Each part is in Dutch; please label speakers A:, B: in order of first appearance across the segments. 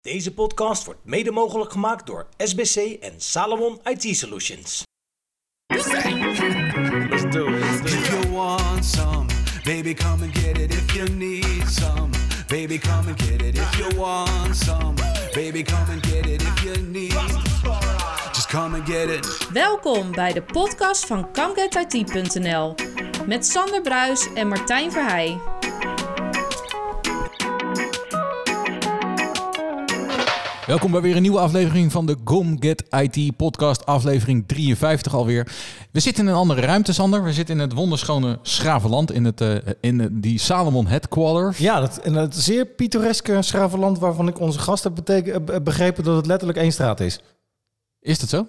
A: Deze podcast wordt mede mogelijk gemaakt door SBC en Salomon IT Solutions.
B: Let's do it. Let's do it.
C: If you want some, baby, come and get it. If you need some, baby, come and get it. If you want some, baby, come and get it. If you need, just come and get it.
D: Welkom bij de podcast van ComeGetIT.nl met Sander Bruis en Martijn Verheij.
E: Welkom bij weer een nieuwe aflevering van de Gom Get IT podcast, aflevering 53 alweer. We zitten in een andere ruimte, Sander. We zitten in het wonderschone Schravenland, in, het, eh, in eh, die Salomon Headquarters.
F: Ja, dat, en het zeer pittoreske Schravenland waarvan ik onze gast heb beteken- eh, be- begrepen dat het letterlijk één straat is.
E: Is dat zo?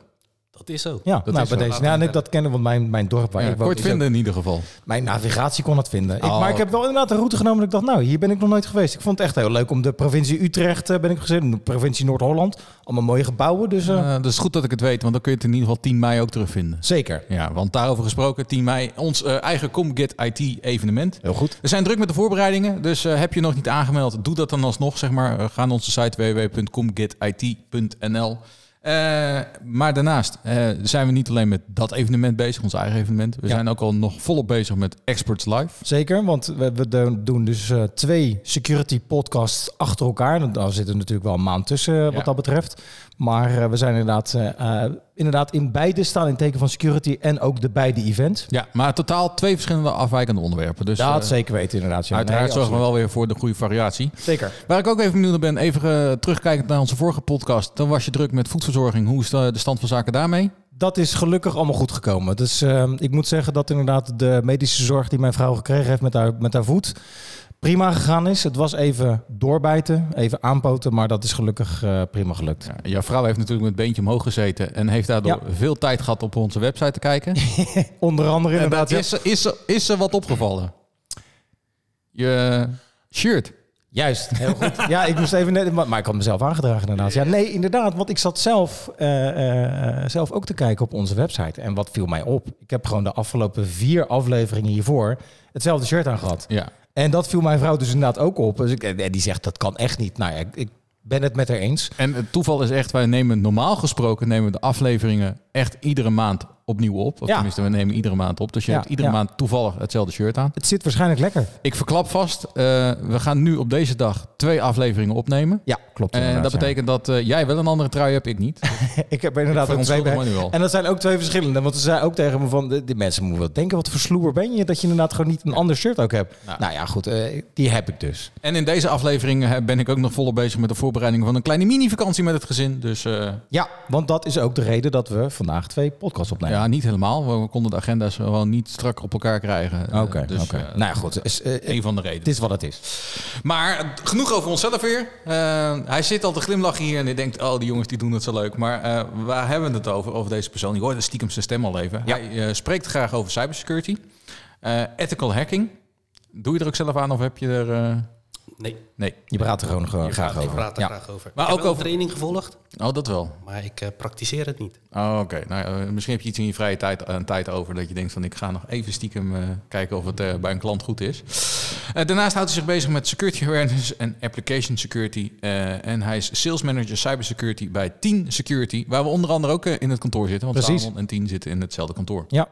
G: Dat is zo.
F: Ja,
E: Oh, Dat
F: nou,
E: is
F: bij
E: zo.
F: deze. Ja, en ik dat kennen, want mijn, mijn dorp waar
E: Ja,
F: ik woon...
E: kort
F: is ook-
E: vinden in ieder geval.
F: mijn navigatie kon het vinden. Ik,
E: Oh,
F: maar ik heb wel inderdaad een route genomen dat ik dacht, nou, hier ben ik nog nooit geweest. Ik vond het echt heel leuk om de provincie Utrecht eh, ben ik gezien, de provincie Noord-Holland. Allemaal mooie gebouwen, dus eh,
E: Eh dat is goed dat ik het weet, want dan kun je het in ieder geval 10 mei ook terugvinden.
F: zeker.
E: Ja, want daarover gesproken, 10 mei, ons eh, eigen ComGet IT evenement.
F: Heel goed.
E: We zijn druk met de voorbereidingen, dus eh, heb je nog niet aangemeld, doe dat dan alsnog. Zeg maar. Eh, ga naar onze site www.comgetit.nl. Eh, maar daarnaast eh, zijn we niet alleen met dat evenement bezig, ons eigen evenement. We
F: Ja.
E: zijn ook al nog volop bezig met Experts Live.
F: Zeker, want we, we do- doen dus eh, twee security podcasts achter elkaar. En Daar zitten natuurlijk wel een maand tussen eh, wat
E: Ja.
F: dat betreft. Maar eh, we zijn inderdaad, eh, eh, inderdaad in beide staan in het teken van security en ook de beide events.
E: Ja, maar totaal twee verschillende afwijkende onderwerpen. Dus
F: dat
E: eh,
F: zeker weten inderdaad. Ja.
E: uiteraard
F: Nee,
E: zorgen we
F: absoluut.
E: wel weer voor de goede variatie.
F: Zeker.
E: Waar ik ook even benieuwd naar ben, even eh, terugkijkend naar onze vorige podcast. Dan was je druk met voedselverzorging. Hoe is de de stand van zaken daarmee?
F: Dat is gelukkig allemaal goed gekomen. Dus eh, ik moet zeggen dat inderdaad de medische zorg die mijn vrouw gekregen heeft met haar, met haar voet prima gegaan is. Het was even doorbijten, even aanpoten, maar dat is gelukkig eh, prima gelukt.
E: Ja, jouw vrouw heeft natuurlijk met het beentje omhoog gezeten en heeft daardoor
F: Ja.
E: veel tijd gehad op onze website te kijken.
F: Onder andere
E: En
F: inderdaad. ja.
E: is, er- is, er- is er wat opgevallen? Je shirt.
F: Juist, heel goed. ja, ik moest even net, maar, maar ik had mezelf aangedragen inderdaad. Ja, nee, inderdaad, want ik zat zelf, eh, eh, eh, zelf ook te kijken op onze website. En wat viel mij op? Ik heb gewoon de afgelopen vier afleveringen hiervoor hetzelfde shirt aan gehad.
E: Ja.
F: En dat viel mijn vrouw dus inderdaad ook op. Dus ik, en die zegt, dat kan echt niet. Nou ja, ik, ik ben het met haar eens.
E: En het toeval is echt, wij nemen normaal gesproken nemen we de afleveringen echt iedere maand opnieuw op. Of
F: Ja.
E: tenminste, we nemen iedere maand op. Dus je
F: Ja,
E: hebt iedere
F: ja.
E: maand toevallig hetzelfde shirt aan.
F: Het zit waarschijnlijk lekker.
E: Ik verklap vast, eh, we gaan nu op deze dag twee afleveringen opnemen.
F: Ja, klopt.
E: En
F: inderdaad,
E: dat
F: ja.
E: betekent dat eh, jij wel een andere trui hebt, ik niet.
F: Ik heb inderdaad
E: Ik
F: ook twee.
E: verontschuldig
F: bij-
E: me nu al.
F: En dat zijn ook twee verschillende. Want ze zei ook tegen me van, de, die mensen moeten wel denken, wat voor sloer ben je? Dat je inderdaad gewoon niet een ander shirt ook hebt.
E: Nou.
F: nou ja, goed, eh, die heb ik dus.
E: En in deze aflevering eh, ben ik ook nog volop bezig met de voorbereidingen van een kleine mini-vakantie met het gezin. Dus eh,
F: Ja, want dat is ook de reden dat we vandaag twee podcasts opnemen.
E: ja, niet helemaal. We- We konden de agenda's gewoon niet strak op elkaar krijgen. Eh,
F: Oké,
E: dus
F: oké.
E: eh,
F: nou ja, goed. Is, eh,
E: een van de redenen.
F: het is wat het is.
E: Maar eh, genoeg over onszelf weer. Eh, hij zit al te glimlachen hier en hij denkt, oh die jongens die doen het zo leuk. Maar eh, waar hebben we het over, over deze persoon? Ik hoorde stiekem zijn stem al even. Hij eh, spreekt graag over cybersecurity. Eh, ethical hacking. Doe je er ook zelf aan of heb je er... eh,
G: Nee,
E: Nee.
F: Je praat er gewoon gewoon graag
G: ik
F: over.
G: praat er
F: ja.
G: graag over.
E: Maar
G: ik heb
E: ook
G: wel
E: over-
G: training gevolgd,
E: Oh, dat wel.
G: maar ik eh, praktiseer het niet.
E: Oh, oké. Nou, eh, misschien heb je iets in je vrije tijd, aan tijd over dat je denkt van ik ga nog even stiekem eh, kijken of het eh, bij een klant goed is. Eh, daarnaast houdt hij zich bezig met security awareness en application security. eh, en hij is sales manager cybersecurity bij Team Security, waar we onder andere ook eh, in het kantoor zitten. Want
F: Precies.
E: Salomon en Team zitten in hetzelfde kantoor.
F: Ja.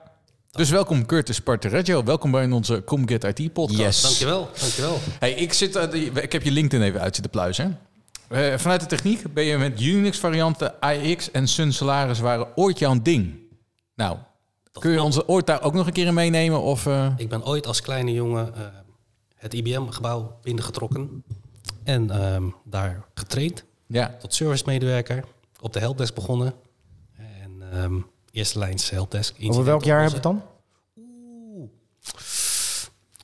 E: Dus welkom Curtis Partereggio. Welkom bij onze ComGet IT podcast.
F: Yes.
G: Dankjewel, dankjewel.
E: Hey, ik, zit, eh, die- ik heb je LinkedIn even uit zitten pluizen. Eh, vanuit de techniek ben je met Unix-varianten, AX en Sun Solaris waren ooit jouw ding. Nou, kun je ons ooit daar ook nog een keer in meenemen? Of, eh,
G: Ik ben ooit als kleine jongen eh, het IBM-gebouw binnengetrokken en ehm, daar getraind
E: ja.
G: tot servicemedewerker, op de helpdesk begonnen en ehm, eerste lijns helpdesk.
F: Over welk jaar hebben we het dan?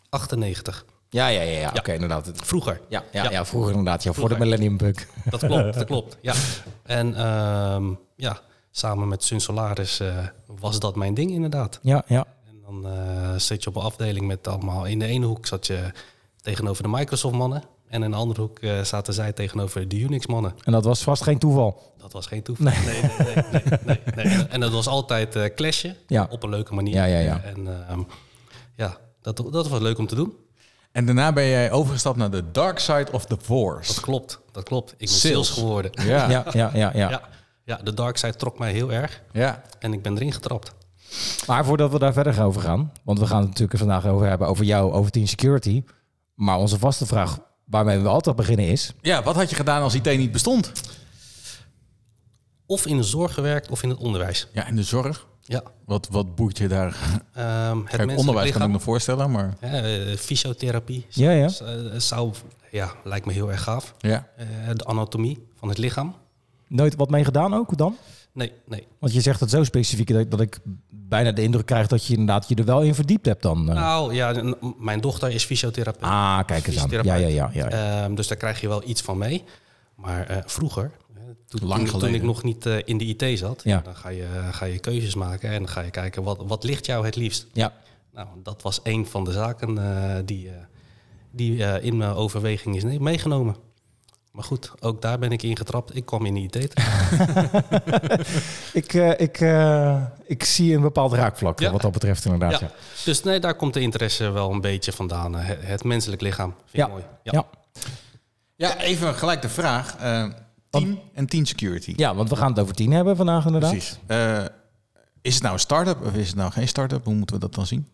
G: 98,
F: Ja, ja, ja. ja. Oké, inderdaad.
G: vroeger.
F: Ja, ja, ja. vroeger inderdaad. Ja, voor de
G: Vroeger.
F: Millennium Bug.
G: Dat klopt, dat klopt. Ja. En ehm, ja, samen met Sun Solaris eh, was dat mijn ding inderdaad.
F: Ja, ja.
G: En dan eh zit je op een afdeling met allemaal... In de ene hoek zat je tegenover de Microsoft-mannen. En in de andere hoek eh, zaten zij tegenover de Unix-mannen.
F: En dat was vast geen toeval.
G: Dat was geen toeval. Nee, nee, nee. nee, nee, nee. En dat was altijd eh clashen.
F: Ja.
G: Op een leuke manier.
F: Ja, ja, ja.
G: En ehm, ja, dat, dat was leuk om te doen.
E: En daarna ben jij overgestapt naar de dark side of the
G: Dat
E: force.
G: klopt, dat klopt. Ik ben sales,
E: Sales.
G: geworden.
E: Ja, ja.
F: Ja, ja, ja, ja.
G: Ja. ja, de dark side trok mij heel erg en ik ben erin getrapt.
F: Maar voordat we daar verder over gaan, want we gaan het natuurlijk vandaag over hebben over jou, over Team Security. Maar onze vaste vraag waarmee we altijd beginnen is,
E: Ja, wat had je gedaan als IT niet bestond?
G: Of in de zorg gewerkt of in het onderwijs.
E: Ja, in de zorg.
G: Ja.
E: Wat, wat boeit je daar?
G: Ehm het
E: Kijk,
G: menselijk
E: onderwijs kan ik
G: lichaam,
E: me voorstellen, maar
G: hè, eh, fysiotherapie.
F: Ja, ja.
G: Eh, zou, ja, lijkt me heel erg gaaf.
E: ja.
G: Eh, de anatomie van het lichaam.
F: nooit wat mee gedaan ook dan?
G: Nee, nee.
F: Want je zegt het zo specifiek dat ik, dat ik bijna de indruk krijg dat je inderdaad je er wel in verdiept hebt dan. eh.
G: Nou ja, n- mijn dochter is fysiotherapeut.
F: ah, kijk eens aan. Ja, ja,
G: fysiotherapeut.
F: ja. ja, ja.
G: Ehm, dus daar krijg je wel iets van mee. Maar eh, vroeger, eh, toen,
E: Lang
G: toen, toen
E: geleden.
G: ik nog niet eh, in de IT zat,
F: Ja.
G: dan ga je, ga je keuzes maken en dan ga je kijken wat, wat ligt jou het liefst.
F: ja.
G: Nou, dat was een van de zaken eh, die, eh, die eh, in mijn overweging is ne- meegenomen. Maar goed, ook daar ben ik in getrapt. Ik kwam in de IT terecht.
F: Ik, eh, ik, eh, ik zie een bepaald raakvlak
G: Ja.
F: wat dat betreft inderdaad. Ja.
G: Ja. Dus nee, daar komt de interesse wel een beetje vandaan. Eh, Het, het menselijk lichaam vind ik
F: Ja.
G: mooi. Ja.
F: Ja.
E: ja, even gelijk de vraag. eh team en team security.
F: Ja, want we gaan het over tien hebben vandaag inderdaad.
E: Precies. Eh, is het nou een start-up of is het nou geen start-up? Hoe moeten we dat dan zien?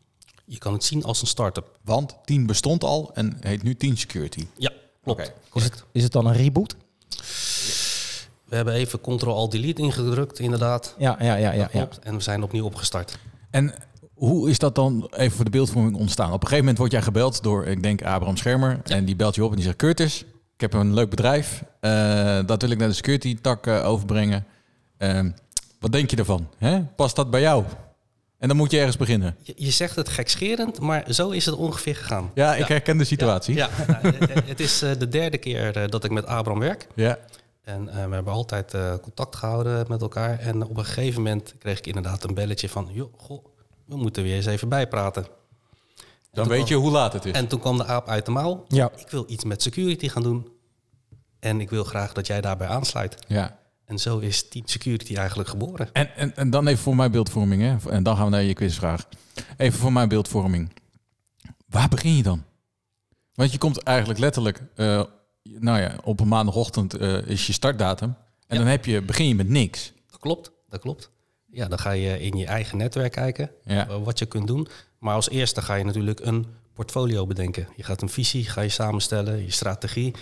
G: Je kan het zien als een start-up.
E: Want 10 bestond al en heet nu 10 security.
G: Ja, klopt. Dus
E: Oké.
F: Is het, is het dan een reboot?
G: We hebben even Ctrl-Alt-Delete ingedrukt, inderdaad.
F: Ja, ja, ja, ja. ja.
G: Klopt. En we zijn opnieuw opgestart.
E: En hoe is dat dan even voor de beeldvorming ontstaan? Op een gegeven moment word jij gebeld door, ik denk, Abraham Schermer. En die belt je op en die zegt, Curtis, ik heb een leuk bedrijf. Eh, dat wil ik naar de security tak eh, overbrengen. Ehm, wat denk je ervan? Hè? Past dat bij jou? En dan moet je ergens beginnen.
G: Je, je zegt het gekscherend, maar zo is het ongeveer gegaan.
E: Ja, ik herken de situatie.
G: Ja, nou, het, het is eh, de derde keer eh, dat ik met Abraham werk.
E: ja.
G: En eh, we hebben altijd eh, contact gehouden met elkaar. En op een gegeven moment kreeg ik inderdaad een belletje van... Joh, goh, we moeten weer eens even bijpraten.
E: Dan weet je hoe laat het is.
G: En toen kwam de aap uit de mouw.
F: Ja.
G: Ik wil iets met security gaan doen. En ik wil graag dat jij daarbij aansluit.
E: ja.
G: En zo is Team Security eigenlijk geboren.
E: En, en, en dan even voor mijn beeldvorming, hè? En dan gaan we naar je quizvraag. Even voor mijn beeldvorming. Waar begin je dan? Want je komt eigenlijk letterlijk, eh, nou ja, op een maandagochtend eh, is je startdatum. En dan heb je, begin je met niks.
G: Dat klopt, dat klopt. Ja, dan ga je in je eigen netwerk kijken
E: Ja.
G: eh, wat je kunt doen. Maar als eerste ga je natuurlijk een portfolio bedenken. Je gaat een visie, ga je samenstellen, je strategie.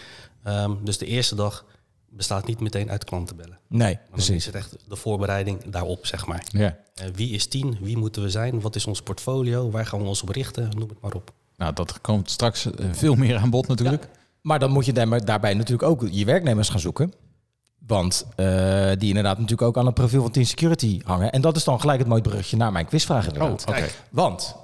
G: Ehm, dus de eerste dag bestaat niet meteen uit klantenbellen.
F: Nee,
G: Maar dan is
F: precies.
G: het echt de voorbereiding daarop, zeg maar.
E: Ja.
G: Eh, wie is tien? Wie moeten we zijn? Wat is ons portfolio? Waar gaan we ons op richten? Noem het maar op.
E: Nou, dat komt straks eh, veel meer aan bod natuurlijk.
F: Maar dan moet je daar- daarbij natuurlijk ook je werknemers gaan zoeken. Want eh, die inderdaad natuurlijk ook aan het profiel van Team Security hangen. En dat is dan gelijk het mooie brugje naar mijn quizvraag
G: Oh,
F: inderdaad.
E: oké.
F: Want,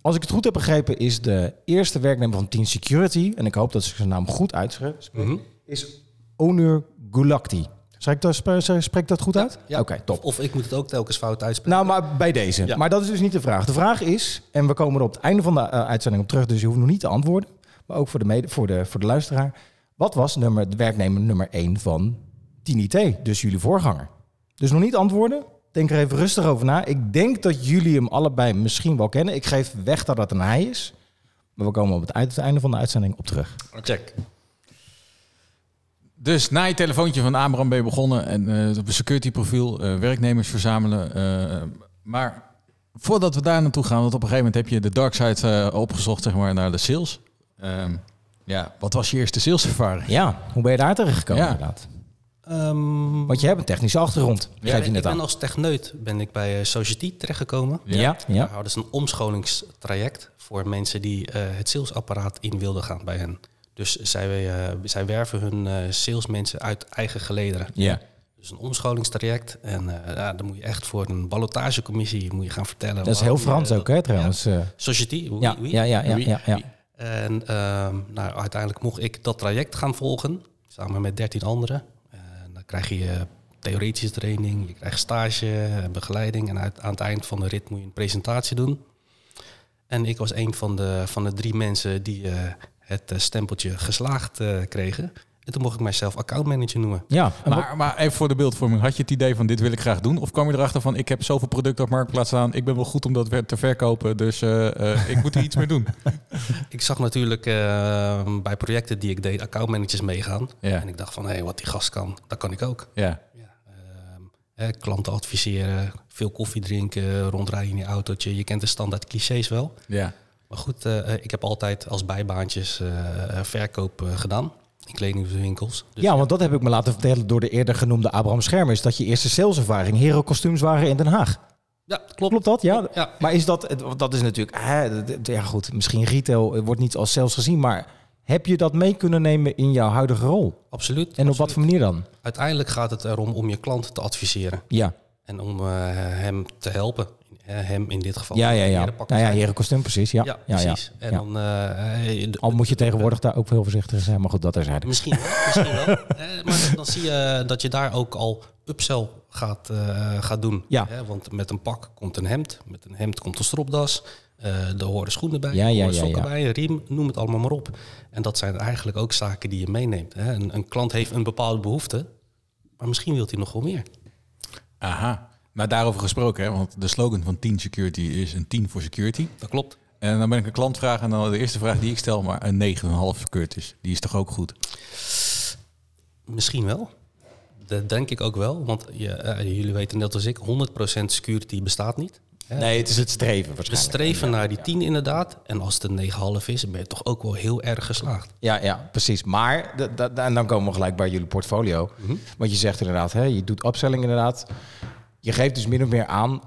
F: als ik het goed heb begrepen, is de eerste werknemer van Team Security... en ik hoop dat ze zijn naam goed uitspreekt,
G: Mhm.
F: is Onur Gulakti. Zeg ik dat, sp- zeg- spreek ik dat goed uit?
G: Ja.
F: Oké, top.
G: Of ik moet het ook telkens fout uitspreken.
F: Nou, maar bij deze.
G: Ja.
F: Maar dat is dus niet de vraag. De vraag is, en we komen er op het einde van de eh, uitzending op terug, dus je hoeft nog niet te antwoorden. Maar ook voor de, mede, voor de, voor de luisteraar. Wat was nummer, de werknemer nummer 1 van 10IT, dus jullie voorganger? Dus nog niet antwoorden. Denk er even rustig over na. Ik denk dat jullie hem allebei misschien wel kennen. Ik geef weg dat dat een hij is. Maar we komen op het eind- het einde van de uitzending op terug.
G: check.
E: Dus na je telefoontje van Abraham ben je begonnen en eh, op een security profiel, eh, werknemers verzamelen. eh, maar voordat we daar naartoe gaan, want op een gegeven moment heb je de dark side eh, opgezocht, zeg maar, naar de sales. Ehm, ja, wat was je eerste saleservaring?
F: Ja, hoe ben je daar terecht gekomen
E: Ja.
F: inderdaad?
G: Ehm,
F: Want je hebt een technische achtergrond.
G: Ja,
F: geef je
G: ik
F: net
G: ben
F: aan.
G: als techneut ben ik bij eh, Society terechtgekomen.
F: Ja, ja.
G: Daar hadden ze een omscholingstraject voor mensen die eh, het salesapparaat in wilden gaan bij hen. Dus zij, eh, zij werven hun eh, salesmensen uit eigen gelederen.
F: ja.
G: Dus een omscholingstraject. En eh, ja, dan moet je echt voor een ballotagecommissie moet je gaan vertellen.
F: Dat is
G: waarom
F: heel
G: je
F: Frans
G: dat-
F: ook, hè, trouwens. eh.
G: Society, oui,
F: Ja,
G: oui.
F: ja, ja, ja,
E: Wie?
F: ja, ja.
E: Wie?
G: En ehm, nou, uiteindelijk mocht ik dat traject gaan volgen, samen met 13 anderen. En dan krijg je eh, theoretische training, je krijgt stage, eh, begeleiding. En uit- aan het eind van de rit moet je een presentatie doen. En ik was een van de, van de drie mensen die eh, het eh, stempeltje geslaagd eh, kregen. En toen mocht ik mijzelf accountmanager noemen.
F: Ja, en wat-
E: Maar, maar even voor de beeldvorming. Had je het idee van dit wil ik graag doen? Of kwam je erachter van ik heb zoveel producten op marktplaats staan. Ik ben wel goed om dat weer te verkopen. Dus eh, eh, ik moet er iets mee doen.
G: Ik zag natuurlijk eh, bij projecten die ik deed accountmanagers meegaan.
E: Ja.
G: En ik dacht van, hé, wat die gast kan, dat kan ik ook.
E: Ja.
G: Ehm, hè, klanten adviseren, veel koffie drinken, rondrijden in je autootje. Je kent de standaard clichés wel.
E: Ja.
G: Maar goed, eh, ik heb altijd als bijbaantjes eh, eh, verkoop eh, gedaan in kledingwinkels. Dus
F: ja, want dat heb ik me laten vertellen door de eerder genoemde Abraham Schermers. Dat je eerste saleservaring hero kostuums waren in Den Haag.
G: ja, klopt.
F: Klopt dat? Ja.
G: Ja.
F: Maar is dat, want dat is natuurlijk, hè, d- d- ja goed, misschien retail eh, wordt niet als sales gezien, maar heb je dat mee kunnen nemen in jouw huidige rol?
G: Absoluut.
F: En op wat voor manier dan?
G: Uiteindelijk gaat het erom om je klant te adviseren
F: Ja,
G: en om eh, hem te helpen. Eh, hem in dit geval.
F: ja, ja, ja.
G: Heren pakken
F: Nou ja,
G: zijn.
F: heren kostuum, precies. Ja,
G: Ja,
F: ja, ja.
G: precies. En
F: Ja.
G: dan, eh, eh, de-
F: Al moet je tegenwoordig daar ook veel voorzichtig zijn, maar goed, dat terzijde.
G: Misschien wel, misschien wel. Eh, maar dan, dan zie je dat je daar ook al upsell gaat, eh, gaat doen.
F: Ja.
G: Hè, want met een pak komt een hemd, met een hemd komt een stropdas, eh er horen schoenen bij,
F: Ja,
G: er
F: ja,
G: horen
F: ja,
G: sokken
F: ja.
G: bij, een riem, noem het allemaal maar op. En dat zijn eigenlijk ook zaken die je meeneemt. Hè. Een, een klant heeft een bepaalde behoefte, maar misschien wil hij nog wel meer.
E: Aha. Maar daarover gesproken, hè, want de slogan van 10 Security is een 10 voor security.
G: Dat klopt.
E: En dan ben ik een klantvraag en dan de eerste vraag die ik stel, maar een 9,5 security is. Die is toch ook goed?
G: Misschien wel. Dat denk ik ook wel, want je, eh, jullie weten net als ik, 100% security bestaat niet.
F: Nee, het is het streven
G: We streven naar die 10 inderdaad. En als het een 9,5 is, dan ben je toch ook wel heel erg geslaagd.
F: Ja, ja, precies. Maar, da- da- da- en dan komen we gelijk bij jullie portfolio.
G: Mhm.
F: Want je zegt inderdaad, hè, je doet upselling inderdaad. Je geeft dus min of meer aan...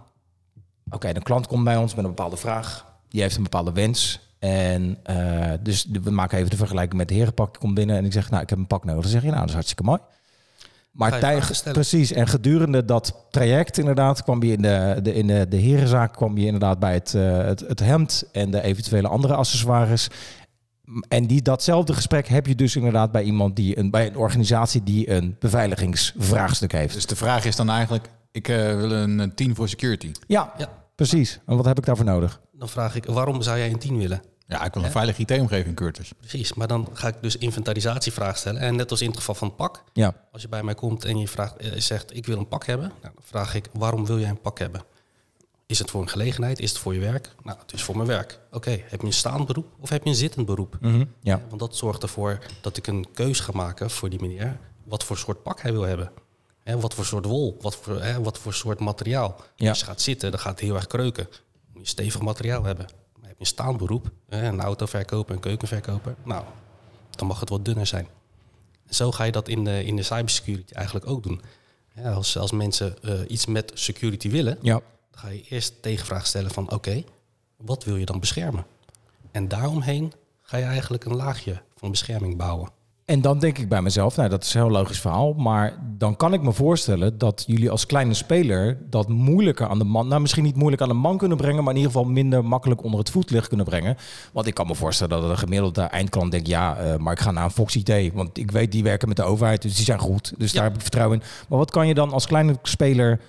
F: Oké, de klant komt bij ons met een bepaalde vraag. Die heeft een bepaalde wens. En eh, dus de- we maken even de vergelijking met de herenpak. Je komt binnen en ik zeg, nou, ik heb een pak nodig. Dan zeg je, nou, dat is hartstikke mooi.
G: Ga
F: Maar
G: je vragen
F: tijg,
G: stellen.
F: precies, en gedurende dat traject inderdaad kwam je in de, de, in de, de herenzaak... kwam je inderdaad bij het, eh, het, het hemd en de eventuele andere accessoires... En die, datzelfde gesprek heb je dus inderdaad bij iemand die een, bij een organisatie die een beveiligingsvraagstuk heeft.
E: Dus de vraag is dan eigenlijk, ik eh, wil een eh, 10 voor security.
F: Ja,
G: Ja.
F: precies. En wat heb ik daarvoor nodig?
G: Dan vraag ik, waarom zou jij een 10 willen?
E: Ja, ik wil een veilige IT-omgeving, Curtis.
G: Precies, maar dan ga ik dus inventarisatievraag stellen. En net als in het geval van het pak,
F: Ja,
G: als je bij mij komt en je vraagt, eh, zegt, ik wil een pak hebben. Nou, dan vraag ik, waarom wil jij een pak hebben? Is het voor een gelegenheid? Is het voor je werk? Nou, het is voor mijn werk. Oké, heb je een staand beroep of heb je een zittend beroep?
F: ja.
G: Want dat zorgt ervoor dat ik een keus ga maken voor die meneer. Wat voor soort pak hij wil hebben. Hè, wat voor soort wol, wat voor, hè, wat voor soort materiaal.
F: Ja.
G: Als je gaat zitten, dan gaat het heel erg kreuken. Moet je stevig materiaal hebben. Maar heb je een staand beroep, hè, een autoverkoper, een keukenverkoper. Nou, dan mag het wat dunner zijn. Zo ga je dat in de, in de cybersecurity eigenlijk ook doen. Ja, als, als mensen eh, iets met security willen,
F: ja.
G: dan ga je eerst de tegenvraag stellen van oké, wat wil je dan beschermen? En daaromheen ga je eigenlijk een laagje van bescherming bouwen.
F: En dan denk ik bij mezelf, nou dat is een heel logisch verhaal, maar dan kan ik me voorstellen dat jullie als kleine speler dat moeilijker aan de man, nou misschien niet moeilijk aan de man kunnen brengen, maar in ieder geval minder makkelijk onder het voetlicht kunnen brengen. Want ik kan me voorstellen dat een gemiddelde eindklant denkt, ja, eh, maar ik ga naar een Fox IT, want ik weet die werken met de overheid, dus die zijn goed, dus daar heb ik vertrouwen in. Maar wat kan je dan als kleine speler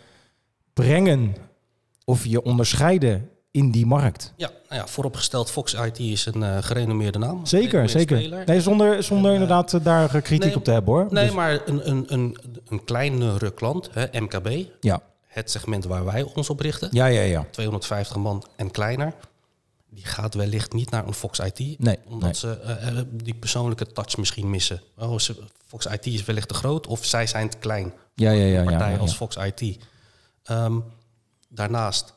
F: brengen of je onderscheiden in die markt?
G: Ja, nou ja vooropgesteld, Fox IT is een eh, gerenommeerde naam.
F: Zeker,
G: Gerenommeerde
F: zeker.
G: speler.
F: Nee, zonder, zonder inderdaad eh, daar eh, kritiek
G: Nee,
F: op te hebben hoor.
G: Nee,
F: Dus-
G: maar een, een, een, een kleinere klant, hè, MKB,
F: ja.
G: het segment waar wij ons op richten,
F: ja, ja, ja.
G: 250 man en kleiner, die gaat wellicht niet naar een Fox IT.
F: Nee,
G: omdat
F: nee.
G: ze eh, eh, die persoonlijke touch misschien missen. Oh, ze, Fox IT is wellicht te groot of zij zijn te klein.
F: Ja, ja, ja. ja,
G: partij
F: ja,
G: als
F: ja.
G: Fox IT. Ehm, daarnaast,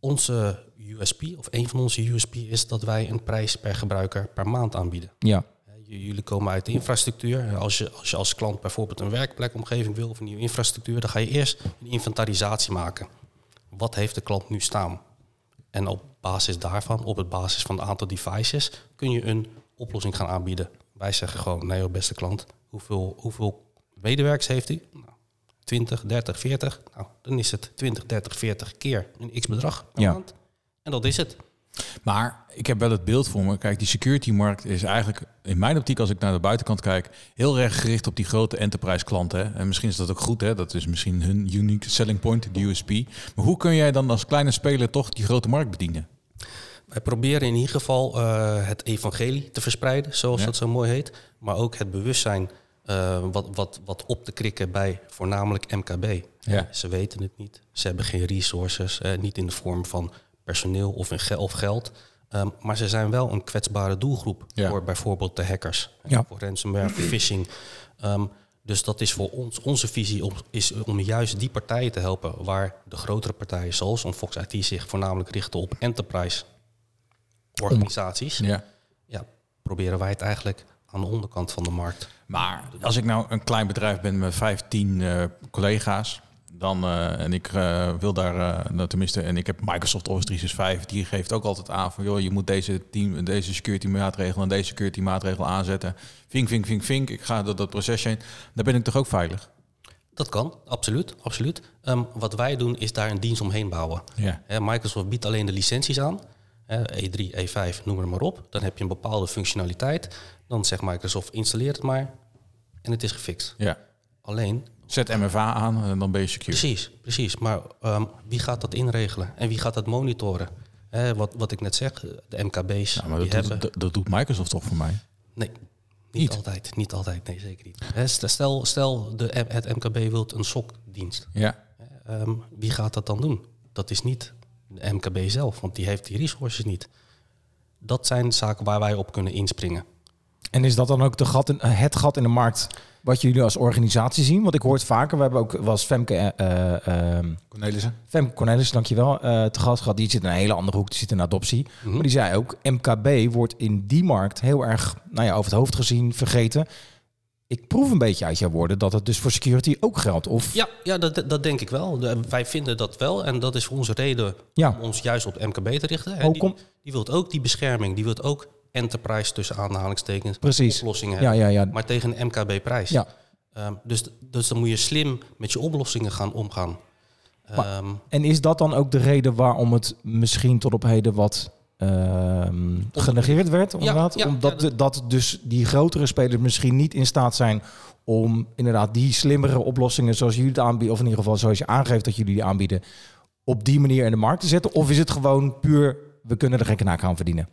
G: onze USP, of een van onze USP, is dat wij een prijs per gebruiker per maand aanbieden.
F: Ja,
G: Hè, j- Jullie komen uit de infrastructuur. Als je, als je als klant bijvoorbeeld een werkplekomgeving wil of een nieuwe infrastructuur, dan ga je eerst een inventarisatie maken. Wat heeft de klant nu staan? En op basis daarvan, op het basis van het aantal devices, kun je een oplossing gaan aanbieden. Wij zeggen gewoon, nee hoor, beste klant, hoeveel, hoeveel medewerkers heeft u? Nou, 20, 30, 40. Nou, dan is het 20, 30, 40 keer een x-bedrag per
F: Ja.
G: maand. En dat is het.
E: Maar ik heb wel het beeld voor me. Kijk, die security-markt is eigenlijk in mijn optiek, als ik naar de buitenkant kijk, heel erg gericht op die grote enterprise klanten. hè. En misschien is dat ook goed, hè? dat is misschien hun unique selling point, de USP. Maar hoe kun jij dan als kleine speler toch die grote markt bedienen?
G: Wij proberen in ieder geval eh, het evangelie te verspreiden, zoals
E: Ja.
G: dat zo mooi heet. Maar ook het bewustzijn eh, wat, wat, wat op te krikken bij voornamelijk MKB.
E: Ja.
G: Eh, Ze weten het niet. Ze hebben geen resources. eh, niet in de vorm van personeel of, in ge- of geld. Ehm, maar ze zijn wel een kwetsbare doelgroep
E: Ja.
G: voor bijvoorbeeld de hackers.
F: Ja.
G: Voor ransomware, voor phishing. Ehm, dus dat is voor ons, onze visie om, is om juist die partijen te helpen waar de grotere partijen zoals Fox IT zich voornamelijk richten op enterprise organisaties. Ja.
E: Ja.
G: proberen wij het eigenlijk aan de onderkant van de markt.
E: Maar als ik nou een klein bedrijf ben met 15 eh, collega's, dan eh, en ik eh, wil daar, eh, nou, tenminste, en ik heb Microsoft Office 365, die geeft ook altijd aan van joh, je moet deze team, deze security maatregel en deze security maatregel aanzetten. Vink, vink, vink, vink. Ik ga door dat proces heen. Dan ben ik toch ook veilig.
G: Dat kan, absoluut. absoluut. Ehm, wat wij doen is daar een dienst omheen bouwen.
E: Ja.
G: Hè, Microsoft biedt alleen de licenties aan. Hè, E E3, E5, noem er maar op. Dan heb je een bepaalde functionaliteit. Dan zegt Microsoft, installeer het maar. En het is gefixt.
E: Ja.
G: Alleen,
E: Zet MFA aan en dan ben je secure.
G: precies, precies. Maar ehm, wie gaat dat inregelen? En wie gaat dat monitoren? Hè, wat, wat ik net zeg, de MKB's
E: Ja, maar
G: die
E: dat,
G: hebben...
E: doet, dat, dat doet Microsoft toch voor mij.
G: Nee, niet,
E: Niet?
G: altijd. Niet altijd, nee, zeker niet. Hè, stel, stel de, M- het MKB wilt een SOC-dienst.
E: Ja.
G: Ehm, wie gaat dat dan doen? Dat is niet de MKB zelf, want die heeft die resources niet. Dat zijn zaken waar wij op kunnen inspringen.
F: En is dat dan ook de gat in, het gat in de markt wat jullie als organisatie zien? Want ik hoor het vaker. We hebben ook was Femke, eh, eh, ehm,
E: Cornelissen.
F: Femke Cornelis, dankjewel, eh te gast gehad. Die zit in een hele andere hoek, die zit in adoptie. Maar die zei ook, MKB wordt in die markt heel erg nou ja, over het hoofd gezien, vergeten. Ik proef een beetje uit jouw woorden dat het dus voor security ook geldt. Of
G: Ja, ja dat, dat denk ik wel. De- wij vinden dat wel en dat is voor onze reden
F: Ja.
G: om ons juist op de MKB te richten. En
F: Oh,
G: die,
F: kom.
G: die wilt ook die bescherming, die wilt ook enterprise tussen aanhalingstekens
F: Precies.
G: oplossingen
F: ja,
G: hebben,
F: ja, ja.
G: maar tegen een MKB-prijs.
F: ja.
G: Ehm, dus, dus dan moet je slim met je oplossingen gaan omgaan.
F: Maar-
G: Ehm,
F: En is dat dan ook de reden waarom het misschien tot op heden wat ehm, genegeerd werd? Inderdaad?
G: ja,
F: Omdat
G: ja,
F: de- dat dus die grotere spelers misschien niet in staat zijn om inderdaad die slimmere oplossingen zoals jullie het aanbieden, of in ieder geval zoals je aangeeft dat jullie die aanbieden, op die manier in de markt te zetten? Of is het gewoon puur, we kunnen er geen knaak aan verdienen?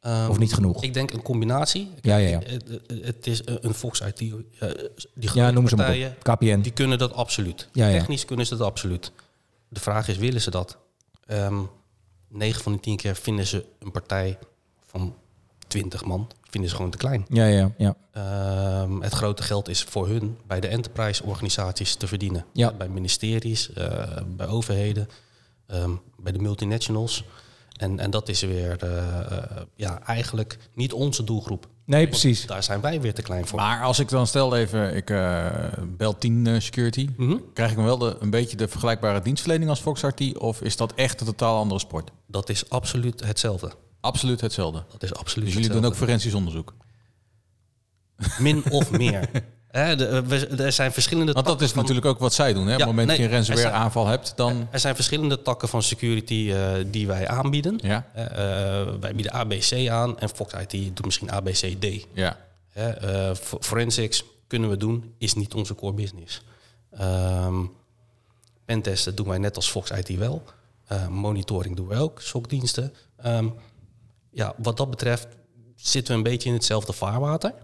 G: ehm,
F: Of niet genoeg?
G: Ik denk een combinatie.
F: Ja, ja, ja.
G: Het, het- het is een Fox IT. eh, Die
F: Ja,
G: grote
F: noem ze maar
G: partijen,
F: op. KPN.
G: Die kunnen dat absoluut.
F: Ja, ja.
G: Technisch kunnen ze dat absoluut. De vraag is, willen ze dat? Ehm 9 van de 10 keer vinden ze een partij van 20 man vinden ze gewoon te klein.
F: Ja, ja, ja.
G: Ehm, het grote geld is voor hun bij de enterprise organisaties te verdienen.
F: Ja.
G: Bij ministeries, eh, bij overheden, ehm, bij de multinationals. En, en dat is weer eh, eh, ja, eigenlijk niet onze doelgroep.
F: Nee,
G: Want
F: precies.
G: Daar zijn wij weer te klein voor.
E: Maar als ik dan stel even, ik eh, bel 10 eh, security,
G: Mhm.
E: krijg ik dan wel de, een beetje de vergelijkbare dienstverlening als Fox RT? Of is dat echt een totaal andere sport?
G: Dat is absoluut hetzelfde.
E: Absoluut hetzelfde.
G: Dat is absoluut
E: Dus jullie doen ook
G: hetzelfde.
E: forensisch onderzoek.
G: Min of meer. Hè, de- eh, we- er zijn verschillende
E: Want dat
G: takken
E: is
G: van-
E: natuurlijk ook wat zij doen. Hè? Op het
G: Ja,
E: moment dat je
G: nee,
E: een ransomware
G: er zijn-
E: aanval hebt, dan...
G: Er zijn verschillende takken van security eh, die wij aanbieden.
E: Ja,
G: Eh, eh, wij bieden ABC aan en Fox IT doet misschien ABCD.
E: ja.
G: Hè, eh, fo- forensics kunnen we doen, is niet onze core business. Ehm pentesten doen wij net als Fox IT wel. Eh, monitoring doen we ook, SOC-diensten. Ehm, ja, wat dat betreft zitten we een beetje in hetzelfde vaarwater.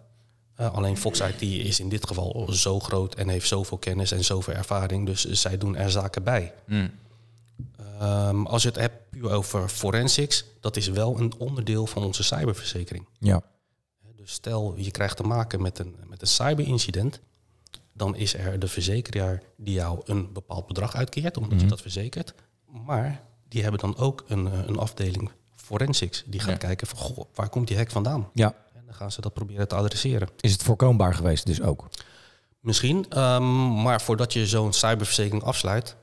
G: Eh, alleen Fox IT is in dit geval zo groot en heeft zoveel kennis en zoveel ervaring. Dus zij doen er zaken bij. Ehm, als je het hebt puur over forensics, dat is wel een onderdeel van onze cyberverzekering.
F: Ja.
G: Dus stel je krijgt te maken met een, met een cyberincident, dan is er de verzekeraar die jou een bepaald bedrag uitkeert, omdat
F: Mhm.
G: je dat verzekert. Maar die hebben dan ook een, eh, een afdeling forensics. Die gaat
E: Ja.
G: kijken van, goh, waar komt die hack vandaan?
F: ja.
G: En dan gaan ze dat proberen te adresseren.
F: Is het voorkombaar geweest dus ook?
G: Misschien, ehm, maar voordat je zo'n cyberverzekering afsluit,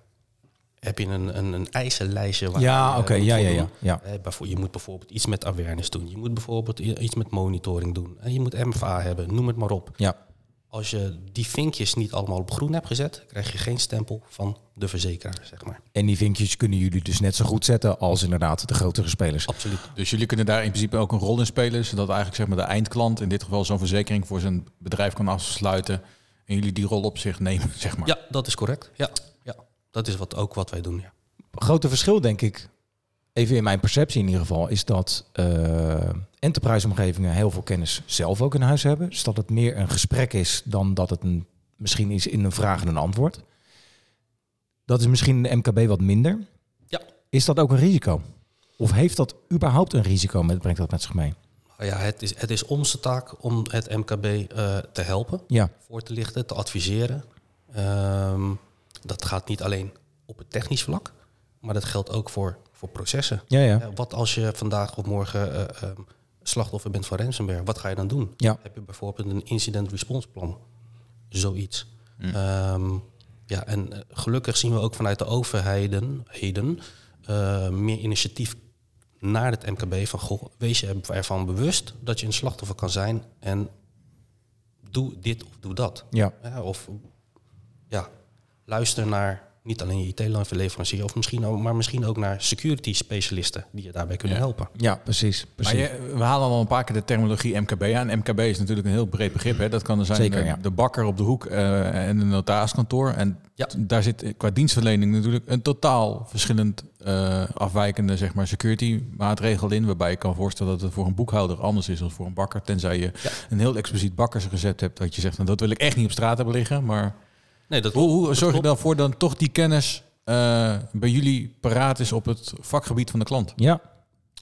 G: heb je een, een, een eisenlijstje. Waar
F: Ja,
G: je, eh,
F: oké,
G: moet
F: ja, ja,
G: voldoen.
F: ja, ja.
G: Eh, bijvoor- Je moet bijvoorbeeld iets met awareness doen. Je moet bijvoorbeeld i- iets met monitoring doen. En je moet MFA hebben, noem het maar op.
F: Ja.
G: Als je die vinkjes niet allemaal op groen hebt gezet, krijg je geen stempel van de verzekeraar, zeg maar.
F: En die vinkjes kunnen jullie dus net zo goed zetten als inderdaad de grotere spelers.
G: Absoluut.
E: Dus jullie kunnen daar in principe ook een rol in spelen, zodat eigenlijk zeg maar, de eindklant, in dit geval zo'n verzekering voor zijn bedrijf kan afsluiten. En jullie die rol op zich nemen, zeg maar.
G: Ja, dat is correct. Ja, ja. dat is wat, ook wat wij doen. Ja.
F: grote verschil, denk ik, even in mijn perceptie in ieder geval, is dat eh, enterprise-omgevingen heel veel kennis zelf ook in huis hebben. Dus dat het meer een gesprek is dan dat het een, misschien is in een vraag en een antwoord. Dat is misschien in de MKB wat minder.
G: Ja.
F: Is dat ook een risico? Of heeft dat überhaupt een risico met, brengt dat met zich mee?
G: Nou Ja, het, is, het is onze taak om het MKB eh, te helpen,
F: Ja,
G: voor te lichten, te adviseren. Ehm, dat gaat niet alleen op het technisch vlak, maar dat geldt ook voor, voor processen.
F: ja, ja.
G: Eh, Wat als je vandaag of morgen eh, ehm, slachtoffer bent van ransomware? Wat ga je dan doen?
F: Ja.
G: Heb je bijvoorbeeld een incident response plan? Zoiets. Ehm, ja, en eh, gelukkig zien we ook vanuit de overheden heden, eh, meer initiatief naar het MKB. Van, goh, wees je ervan bewust dat je een slachtoffer kan zijn en doe dit of doe dat.
F: ja.
G: Ja, of ja, luister naar niet alleen je IT-leverancier, of misschien ook, maar misschien ook naar security specialisten die je daarbij kunnen
E: Ja.
G: helpen.
F: Ja, precies.
E: Maar
F: precies.
E: je, we halen al een paar keer de terminologie MKB aan. MKB is natuurlijk een heel breed begrip. Hè. Dat kan er zijn
F: Zeker,
E: de,
F: ja.
E: de bakker op de hoek eh, en een notariskantoor. En
G: Ja.
E: t- daar zit eh, qua dienstverlening natuurlijk een totaal verschillend eh, afwijkende zeg maar, security maatregel in. Waarbij je kan voorstellen dat het voor een boekhouder anders is dan voor een bakker. Tenzij je een heel expliciet bakkersrecept hebt dat je zegt, nou, dat wil ik echt niet op straat hebben liggen. Maar
G: Nee, dat
E: hoe,
G: klopt.
E: hoe
G: Dat
E: zorg je
G: klopt.
E: ervoor dan toch die kennis eh, bij jullie paraat is op het vakgebied van de klant?
F: ja,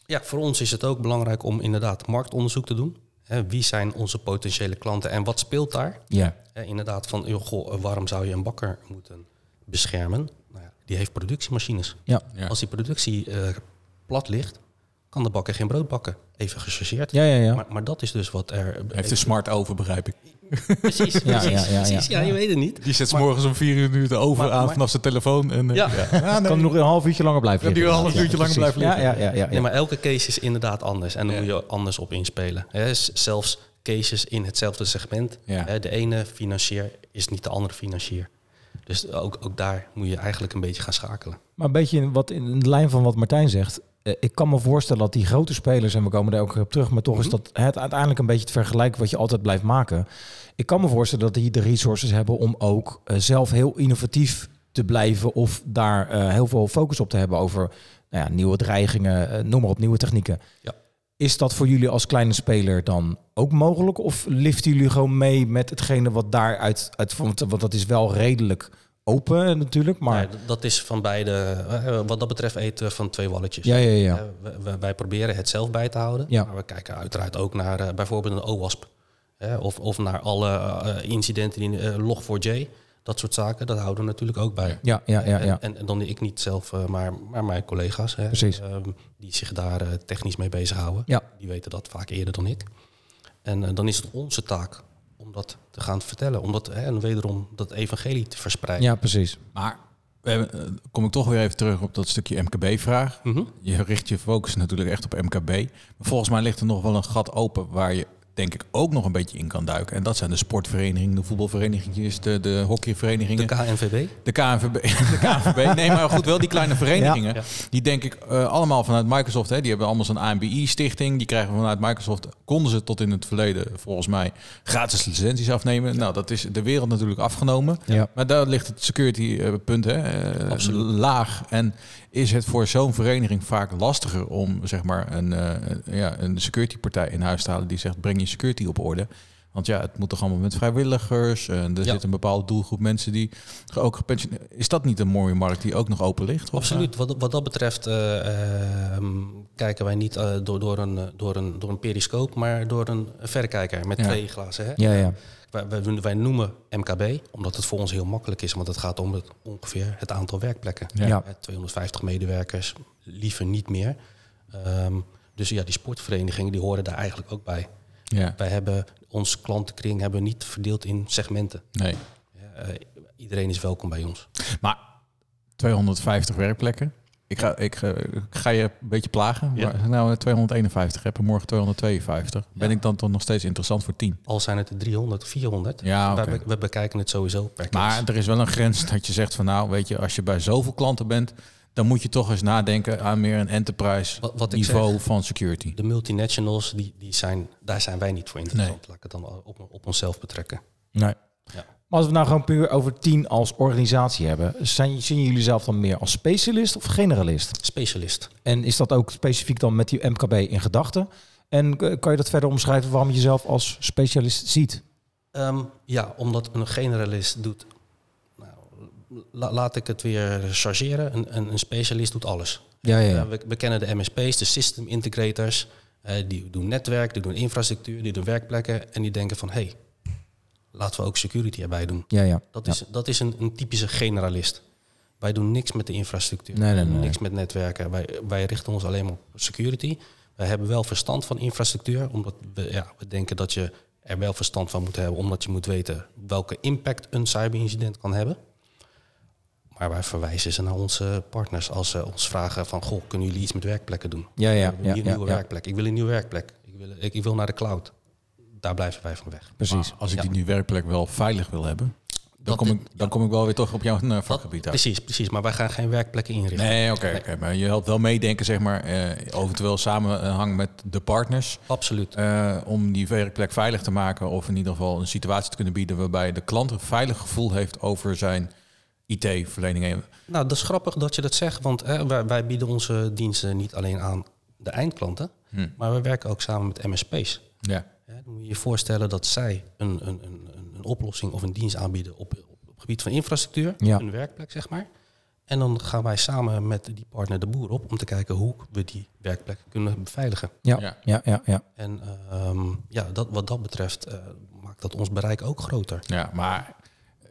G: Ja, voor ons is het ook belangrijk om inderdaad marktonderzoek te doen. Hè, wie zijn onze potentiële klanten en wat speelt daar?
F: ja,
G: Hè, inderdaad, van joh, goh, eh, waarom zou je een bakker moeten beschermen? Nou ja, die heeft productiemachines.
F: ja.
E: Ja.
G: Als die productie eh, plat ligt, kan de bakker geen brood bakken. Even gechargeerd.
F: Ja, ja, ja.
G: Maar, maar dat is dus wat er...
E: Heeft de smart over, begrijp ik.
G: Precies, precies,
F: ja, ja, ja.
G: precies. Ja, je weet het niet.
E: Die zet 's morgens om vier uur de over
G: Maar-
E: aan
G: maar-
E: vanaf zijn telefoon. En, eh,
G: Ja.
F: Kan nog een half uurtje langer blijven
E: Kan die
F: liggen.
E: een half
F: Ja,
E: uurtje langer
F: precies.
E: blijven liggen.
F: Ja, ja, ja. ja, ja.
G: Nee, maar elke case is inderdaad anders. En daar
E: Ja.
G: moet je anders op inspelen. Hè, s- zelfs cases in hetzelfde segment.
E: Ja.
G: Hè, de ene financier is niet de andere financier. Dus ook, ook daar moet je eigenlijk een beetje gaan schakelen.
F: Maar een beetje in wat in de lijn van wat Martijn zegt. Eh, Ik kan me voorstellen dat die grote spelers, en we komen daar ook op terug, maar toch is
G: Mhm.
F: dat het uiteindelijk een beetje het vergelijk wat je altijd blijft maken. Ik kan me voorstellen dat die de resources hebben om ook eh, zelf heel innovatief te blijven of daar eh, heel veel focus op te hebben over nou ja, nieuwe dreigingen, eh, noem maar op, nieuwe technieken.
G: Ja.
F: Is dat voor jullie als kleine speler dan ook mogelijk? Of liften jullie gewoon mee met hetgene wat daaruit... Uit, want, want dat is wel redelijk open eh, natuurlijk, maar...
G: Ja, d- dat is van beide, eh, wat dat betreft, eten we van twee walletjes.
F: ja, ja, ja.
G: Eh, we- we- wij proberen het zelf bij te houden.
F: Ja.
G: Maar we kijken uiteraard ook naar eh, bijvoorbeeld een OWASP. hè, of, of naar alle eh, incidenten in eh, Log4j. Dat soort zaken, dat houden we natuurlijk ook bij.
F: Ja, ja, ja, ja.
G: En, en dan ik niet zelf, eh, maar, maar mijn collega's. Hè,
F: Precies.
G: ehm, die zich daar eh, technisch mee bezighouden.
F: Ja.
G: Die weten dat vaak eerder dan ik. En eh, dan is het onze taak om dat te gaan vertellen. Om dat, hè, en wederom dat evangelie te verspreiden.
F: Ja, precies.
E: Maar we hebben, eh, kom ik toch weer even terug op dat stukje MKB-vraag.
G: Mhm.
E: Je richt je focus natuurlijk echt op MKB. Maar volgens mij ligt er nog wel een gat open waar je denk ik ook nog een beetje in kan duiken. En dat zijn de sportverenigingen, de voetbalverenigingen, de, de
G: De
E: hockeyverenigingen.
G: KNVB.
E: De KNVB. De KNVB. Nee, maar goed, wel die kleine verenigingen.
G: Ja.
E: Die denk ik eh, allemaal vanuit Microsoft. Hè, die hebben allemaal zo'n AMBI-stichting. Die krijgen vanuit Microsoft. Konden ze tot in het verleden volgens mij gratis licenties afnemen. Nou, dat is de wereld natuurlijk afgenomen.
F: Ja.
E: Maar daar ligt het security eh, punt hè, eh, laag. En is het voor zo'n vereniging vaak lastiger om zeg maar een, eh, ja, een security partij in huis te halen die zegt breng je security op orde. Want ja, het moet toch allemaal met vrijwilligers. En er
G: Ja.
E: zit een bepaalde doelgroep mensen die ge- ook gepensioneerd... Is dat niet een mooie markt die ook nog open ligt? Of,
G: Absoluut. Wat, wat dat betreft eh, ehm, kijken wij niet eh, door, door, een, eh, door, een, door een periscoop, maar door een verrekijker met
E: Ja.
G: twee glazen. Hè?
F: Ja, ja.
G: Wij, wij, doen- wij noemen MKB, omdat het voor ons heel makkelijk is, want het gaat om het, ongeveer het aantal werkplekken.
E: Ja.
F: Ja.
G: Hè, 250 medewerkers, liever niet meer. Ehm, dus ja, die sportverenigingen die horen daar eigenlijk ook bij.
E: eh, ja,
G: Wij hebben ons klantenkring hebben we niet verdeeld in segmenten.
E: nee.
G: Eh, iedereen is welkom bij ons.
E: Maar 250 werkplekken. Ik ga, ik, eh, ik ga je een beetje plagen.
G: Ja.
E: Maar als ik nou eh, 251 heb en morgen 252. Ben ik dan toch nog steeds interessant voor 10?
G: Al zijn het er 300, 400.
E: Ja, oké.
G: Wij be- we bekijken het sowieso per case.
E: Maar er is wel een grens dat je zegt van nou, weet je, als je bij zoveel klanten bent, dan moet je toch eens nadenken aan meer een enterprise
G: Wat- wat ik
E: niveau van security.
G: de multinationals, die, die zijn, daar zijn wij niet voor interessant. Laat ik het dan op, op onszelf betrekken.
F: Nee.
G: Ja.
F: Maar als we het nou gewoon puur over tien als organisatie hebben, zijn, zien jullie zelf dan meer als specialist of generalist?
G: Specialist.
F: En is dat ook specifiek dan met die MKB in gedachten? En eh, kan je dat verder omschrijven waarom je jezelf als specialist ziet?
G: Ehm, ja, omdat een generalist doet. Nou, la- laat ik het weer chargeren. Een, een, een specialist doet alles.
F: Ja, ja, ja.
G: Eh, we, we kennen de MSP's, de system integrators. eh, die doen netwerk, die doen infrastructuur, die doen werkplekken. En die denken van hé, hey, laten we ook security erbij doen.
F: Ja, ja.
G: Dat is, dat is een, een typische generalist. Wij doen niks met de infrastructuur,
F: Nee, nee,
G: We doen
F: nee.
G: niks met netwerken. Wij, wij richten ons alleen maar op security. Wij hebben wel verstand van infrastructuur, omdat we, ja, we denken dat je er wel verstand van moet hebben, omdat je moet weten welke impact een cyberincident kan hebben. Maar wij verwijzen ze naar onze partners als ze ons vragen van, goh, kunnen jullie iets met werkplekken doen?
F: Ja, ja,
G: Ik wil
F: ja,
G: hier een
F: ja,
G: nieuwe
F: ja.
G: werkplek. Ik wil een nieuwe werkplek. Ik wil, ik, ik wil naar de cloud. Daar blijven wij van weg.
F: Precies.
E: Ah, Als ik
G: Ja.
E: die nu werkplek wel veilig wil hebben, dan, kom, ik, dan kom ik wel weer toch op jouw eh, vakgebied uit.
G: Precies, precies. Maar wij gaan geen werkplekken inrichten.
E: Nee, oké, oké. maar je helpt wel meedenken, zeg maar, eh eventueel samenhang met de partners.
G: Absoluut.
E: eh, om die werkplek veilig te maken of in ieder geval een situatie te kunnen bieden waarbij de klant een veilig gevoel heeft over zijn IT-verlening.
G: Nou, dat is grappig dat je dat zegt, want eh, wij, wij bieden onze diensten niet alleen aan de eindklanten, maar we werken ook samen met MSP's.
E: Ja.
G: Hè, dan moet je je voorstellen dat zij een, een, een, een, een oplossing of een dienst aanbieden op, op het gebied van infrastructuur,
F: Ja.
G: een werkplek zeg maar. En dan gaan wij samen met die partner de boer op om te kijken hoe we die werkplek kunnen beveiligen.
F: Ja,
E: Ja.
F: ja, ja, ja.
G: En eh, ehm, ja, dat, wat dat betreft eh, maakt dat ons bereik ook groter.
E: Ja, maar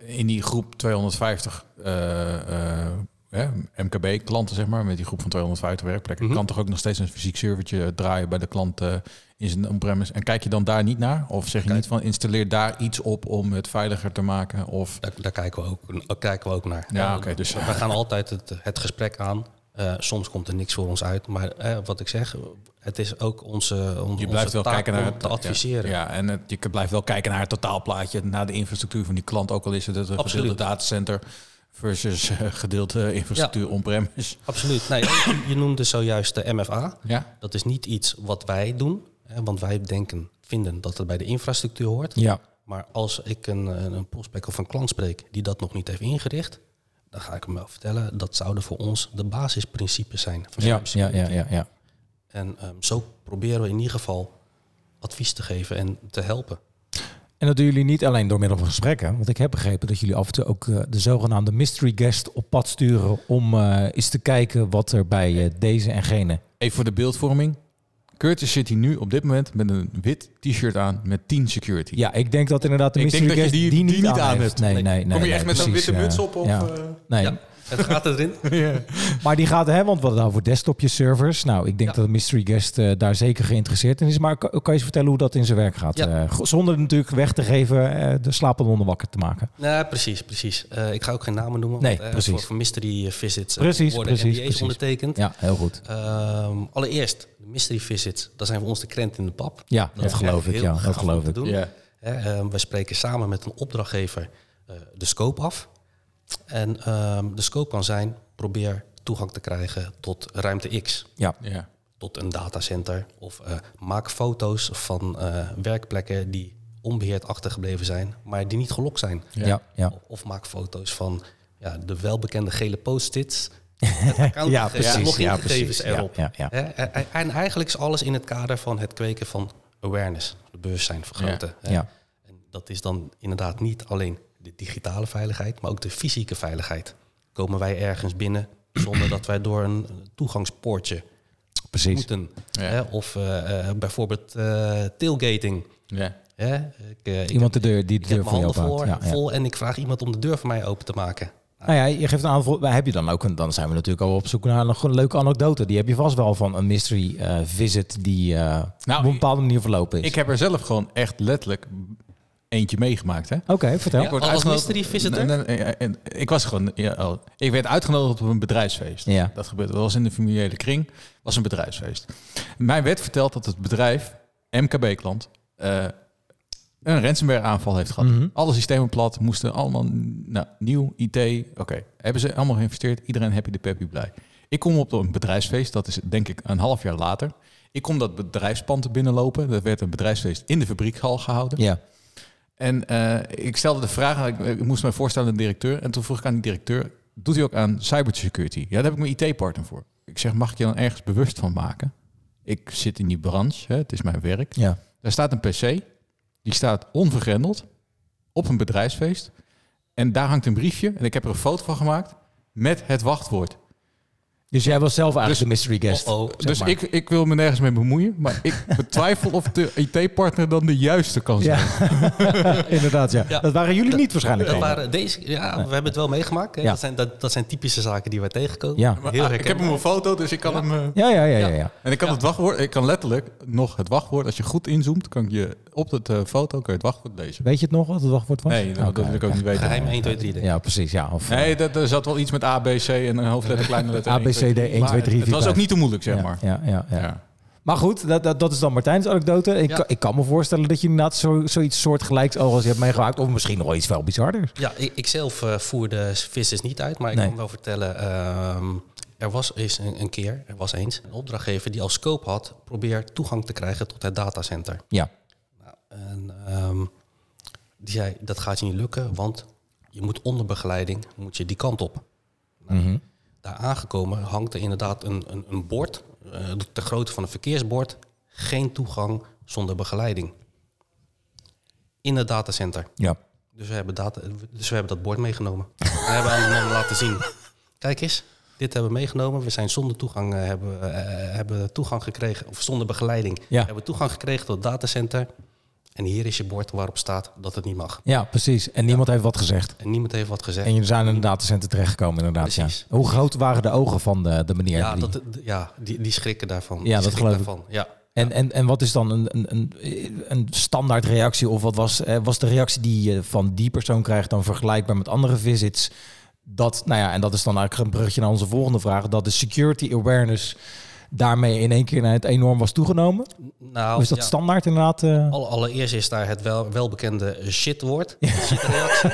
E: in die groep 250 eh, eh, hè, MKB-klanten, zeg maar, met die groep van 250 werkplekken,
G: Mhm.
E: kan toch ook nog steeds een fysiek servertje draaien bij de klant eh, in zijn on-premise. En kijk je dan daar niet naar? Of zeg je niet van installeer daar iets op om het veiliger te maken? Of
G: Daar, daar kijken, we ook, daar kijken we ook naar.
E: Ja,
G: Eh,
E: oké, dus-
G: We gaan altijd het, het gesprek aan. Eh, soms komt er niks voor ons uit. Maar eh, wat ik zeg, het is ook onze, on,
E: je blijft
G: onze
E: wel
G: taak
E: kijken naar
G: om te adviseren.
E: Ja, ja, en het- je blijft wel kijken naar het totaalplaatje, naar de infrastructuur van die klant, ook al is het een gedeelde
G: Absoluut.
E: datacenter versus eh, gedeelte infrastructuur on-premise.
G: Absoluut. Nee, je- je noemde zojuist de MFA.
E: Ja.
G: Dat is niet iets wat wij doen. Hè, want wij denken, vinden dat het bij de infrastructuur hoort.
F: Ja.
G: Maar als ik een, een een prospect of een klant spreek die dat nog niet heeft ingericht, dan ga ik hem wel vertellen, dat zouden voor ons de basisprincipes zijn. van
F: Ja, ja,
G: cybersecurity.
F: ja, ja, ja.
G: En ehm, zo proberen we in ieder geval advies te geven en te helpen.
F: En dat doen jullie niet alleen door middel van gesprekken. Want ik heb begrepen dat jullie af en toe ook eh, de zogenaamde mystery guest op pad sturen. om eh, eens te kijken wat er bij eh, deze en gene.
E: Even voor de beeldvorming. Curtis zit hier nu op dit moment met een wit t-shirt aan met 10 security.
F: Ja, ik denk dat inderdaad de
E: Ik denk
F: mystery
E: dat
F: guest
E: je
F: die, niet, aan,
E: hebt.
F: heeft. Nee, nee, nee.
E: Kom je
F: nee,
E: echt met zo'n
F: precies,
E: witte
F: ja.
E: muts op? Of,
F: Ja.
E: eh?
F: Nee.
G: Ja, het gaat erin.
F: Maar die gaat, hè, want we hadden het over desktopje servers. Nou, ik denk dat de mystery guest eh, daar zeker geïnteresseerd in is. Maar kan, kan je eens vertellen hoe dat in zijn werk gaat?
G: Ja.
F: Eh, go- zonder natuurlijk weg te geven, eh, de slapende honden wakker te maken.
G: Nee, precies, precies. Eh, ik ga ook geen namen noemen.
F: Nee,
G: want, eh,
F: precies.
G: Voor, voor mystery visits eh,
F: Precies,
G: worden
F: precies,
G: NDA's
F: precies.
G: ondertekend.
F: Ja, heel goed.
G: Ehm, allereerst, de mystery visits, dat zijn voor ons de krent in de pap.
F: Ja,
G: Dat
F: dat
G: is
F: geloof
G: echt
F: ik.
G: heel
F: Ja,
G: gaaf om
F: dat
G: te
F: geloof ik.
G: doen.
E: Ja.
G: Hè, ehm, we spreken samen met een opdrachtgever eh, de scope af. En ehm, de scope kan zijn, probeer toegang te krijgen tot ruimte X.
F: Ja,
E: ja.
G: tot een datacenter. Of eh, maak foto's van eh, werkplekken die onbeheerd achtergebleven zijn, maar die niet gelokt zijn.
F: ja, ja.
G: Of, of maak foto's van ja, de welbekende gele post-its. met accountgegevens,
F: precies,
G: logingegevens
F: ja, precies, ja,
G: erop.
F: ja, ja.
G: Hè, En, en eigenlijk is alles in het kader van het kweken van awareness, de bewustzijn vergroten. hè.
F: ja.
G: En dat is dan inderdaad niet alleen de digitale veiligheid, maar ook de fysieke veiligheid. Komen wij ergens binnen zonder dat wij door een toegangspoortje
F: Precies.
G: moeten.
E: Ja.
G: Hè? Of eh, eh, bijvoorbeeld eh, tailgating.
E: ja.
G: Hè? Ik, eh, ik
F: Iemand de deur, die de
G: heb- ik
F: deur
G: heb
F: voor
G: mijn
F: je
G: handen
F: ophoudt.
G: voor,
F: Ja, ja.
G: vol en ik vraag iemand om de deur voor mij open te maken.
F: Nou ja, je geeft een aantal. voorbeelden. Heb je dan ook een? Dan zijn we natuurlijk al op zoek naar nog een leuke anekdote. Die heb je vast wel van een mystery eh, visit die eh, op een bepaalde manier verlopen is.
E: Ik heb er zelf gewoon echt letterlijk eentje meegemaakt. Hè?
F: Oké, vertel.
G: Ja.
F: Ja,
E: Ik word
G: als
E: uitgenodigd-
G: mystery visitor?
E: Nee, nee, nee, en ik was gewoon. Ja, al- ik werd uitgenodigd op een bedrijfsfeest.
F: Ja.
E: Dat gebeurde. Dat was in de familiële kring. Was een bedrijfsfeest. Mij werd verteld dat het bedrijf MKB-klant eh, een ransomware aanval heeft gehad.
G: Mhm.
E: Alle systemen plat, moesten allemaal nou, nieuw IT. Oké, hebben ze allemaal geïnvesteerd. Iedereen happy de peppy blij. Ik kom op een bedrijfsfeest, dat is denk ik een half jaar later. Ik kom dat bedrijfspand binnenlopen. Dat werd een bedrijfsfeest in de fabriekhal gehouden. En eh, ik stelde de vraag, ik, ik moest mij voorstellen aan de directeur. En toen vroeg ik aan die directeur, doet hij ook aan cybersecurity? Ja, daar heb ik mijn IT-partner voor. Ik zeg, mag ik je dan ergens bewust van maken? Ik zit in die branche, hè, het is mijn werk.
F: Ja.
E: Daar staat een PC, die staat onvergrendeld op een bedrijfsfeest. En daar hangt een briefje, en ik heb er een foto van gemaakt, met het wachtwoord.
F: Dus jij was zelf eigenlijk de mystery guest.
G: Oh,
F: zeg
E: dus
F: maar.
E: ik, ik wil me nergens mee bemoeien, maar ik betwijfel of de IT-partner dan de juiste kan zijn.
F: Ja, inderdaad. Ja.
G: Ja.
F: Dat waren jullie niet waarschijnlijk.
G: Dat
F: dan.
G: waren deze, ja, we hebben het wel meegemaakt. Hè?
F: Ja.
G: Dat, zijn, dat, dat zijn typische zaken die wij tegenkomen.
F: Ja.
E: Maar,
G: Heel
E: ah, ik heb hem
G: herkenbaar.
E: een foto, dus ik kan hem... eh,
F: Ja, ja, ja, ja, ja.
E: En ik kan het wachtwoord, ik kan letterlijk nog het wachtwoord, als je goed inzoomt, kan ik je op de foto kan je het wachtwoord lezen.
F: Weet je het nog wat het wachtwoord was?
E: Nee, nou,
F: Oké,
E: dat wil ik ook
F: oké.
E: niet weten.
G: Geheim 1, 2, 3. denk ik.
F: Ja, precies. Ja, of,
E: Nee, dat, er zat wel iets met A, B, C en een hoofdletter, kleine letter.
F: A, B, C, D, 1, 2, 3,
E: Het
F: 4,
E: was ook
F: 5.
E: niet te moeilijk, zeg
F: ja,
E: maar.
F: Ja, ja, ja.
E: Ja.
F: Maar goed, dat, dat, dat is dan Martijn's anekdote. Ik,
G: Ja.
F: kan- ik kan me voorstellen dat je inderdaad zo, zoiets soortgelijks al als je hebt meegemaakt. Of misschien nog iets veel bizarder.
G: Ja, ik, ik zelf eh, voer de vissers niet uit, maar ik
F: Nee.
G: kan wel vertellen. ehm, er was eens een, een keer, er was eens, een opdrachtgever die als scope had, probeer toegang te krijgen tot het datacenter.
F: Ja.
G: Nou, En ehm, die zei, dat gaat je niet lukken, want je moet onder begeleiding, moet je die kant op. Nou, Daar aangekomen hangt er inderdaad een, een, een bord, eh de grootte van een verkeersbord, geen toegang zonder begeleiding. In het datacenter.
F: Ja.
G: Dus we hebben, data, dus we hebben dat bord meegenomen. we hebben aan de mannen laten zien. Kijk eens, dit hebben we meegenomen. We zijn zonder toegang, eh, hebben, eh, hebben toegang gekregen, of zonder begeleiding,
F: Ja.
G: hebben toegang gekregen tot het datacenter. En hier is je bord waarop staat dat het niet mag.
F: ja, precies. En niemand heeft wat gezegd.
G: En niemand heeft wat gezegd.
F: En jullie zijn in een datacenter terechtgekomen inderdaad. Ja.
G: Precies.
F: Hoe groot waren de ogen van de, de meneer?
G: ja,
F: die-
G: dat, ja die, die schrikken daarvan.
F: Ja,
G: Die
F: dat
G: schrik
F: geloof ik.
G: daarvan. Ja.
F: En, en, en wat is dan een, een, een, een standaard reactie? Of wat was, eh, was de reactie die je van die persoon krijgt dan vergelijkbaar met andere visits? Dat, nou ja, en dat is dan eigenlijk een brugje naar onze volgende vraag. Dat de security awareness daarmee in één keer naar het enorm was toegenomen.
G: Nou,
F: Of is dat
G: ja.
F: standaard inderdaad? eh?
G: Alle- allereerst is daar het wel, welbekende shitwoord. Shitreactie.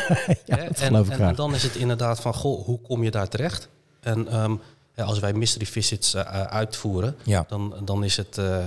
G: Hè,
F: dat
G: en,
F: geloof ik
G: en
F: graag.
G: dan is het inderdaad van, goh, hoe kom je daar terecht? En ehm, ja, als wij mystery visits eh, eh, uitvoeren,
F: Ja.
G: dan, dan is het eh,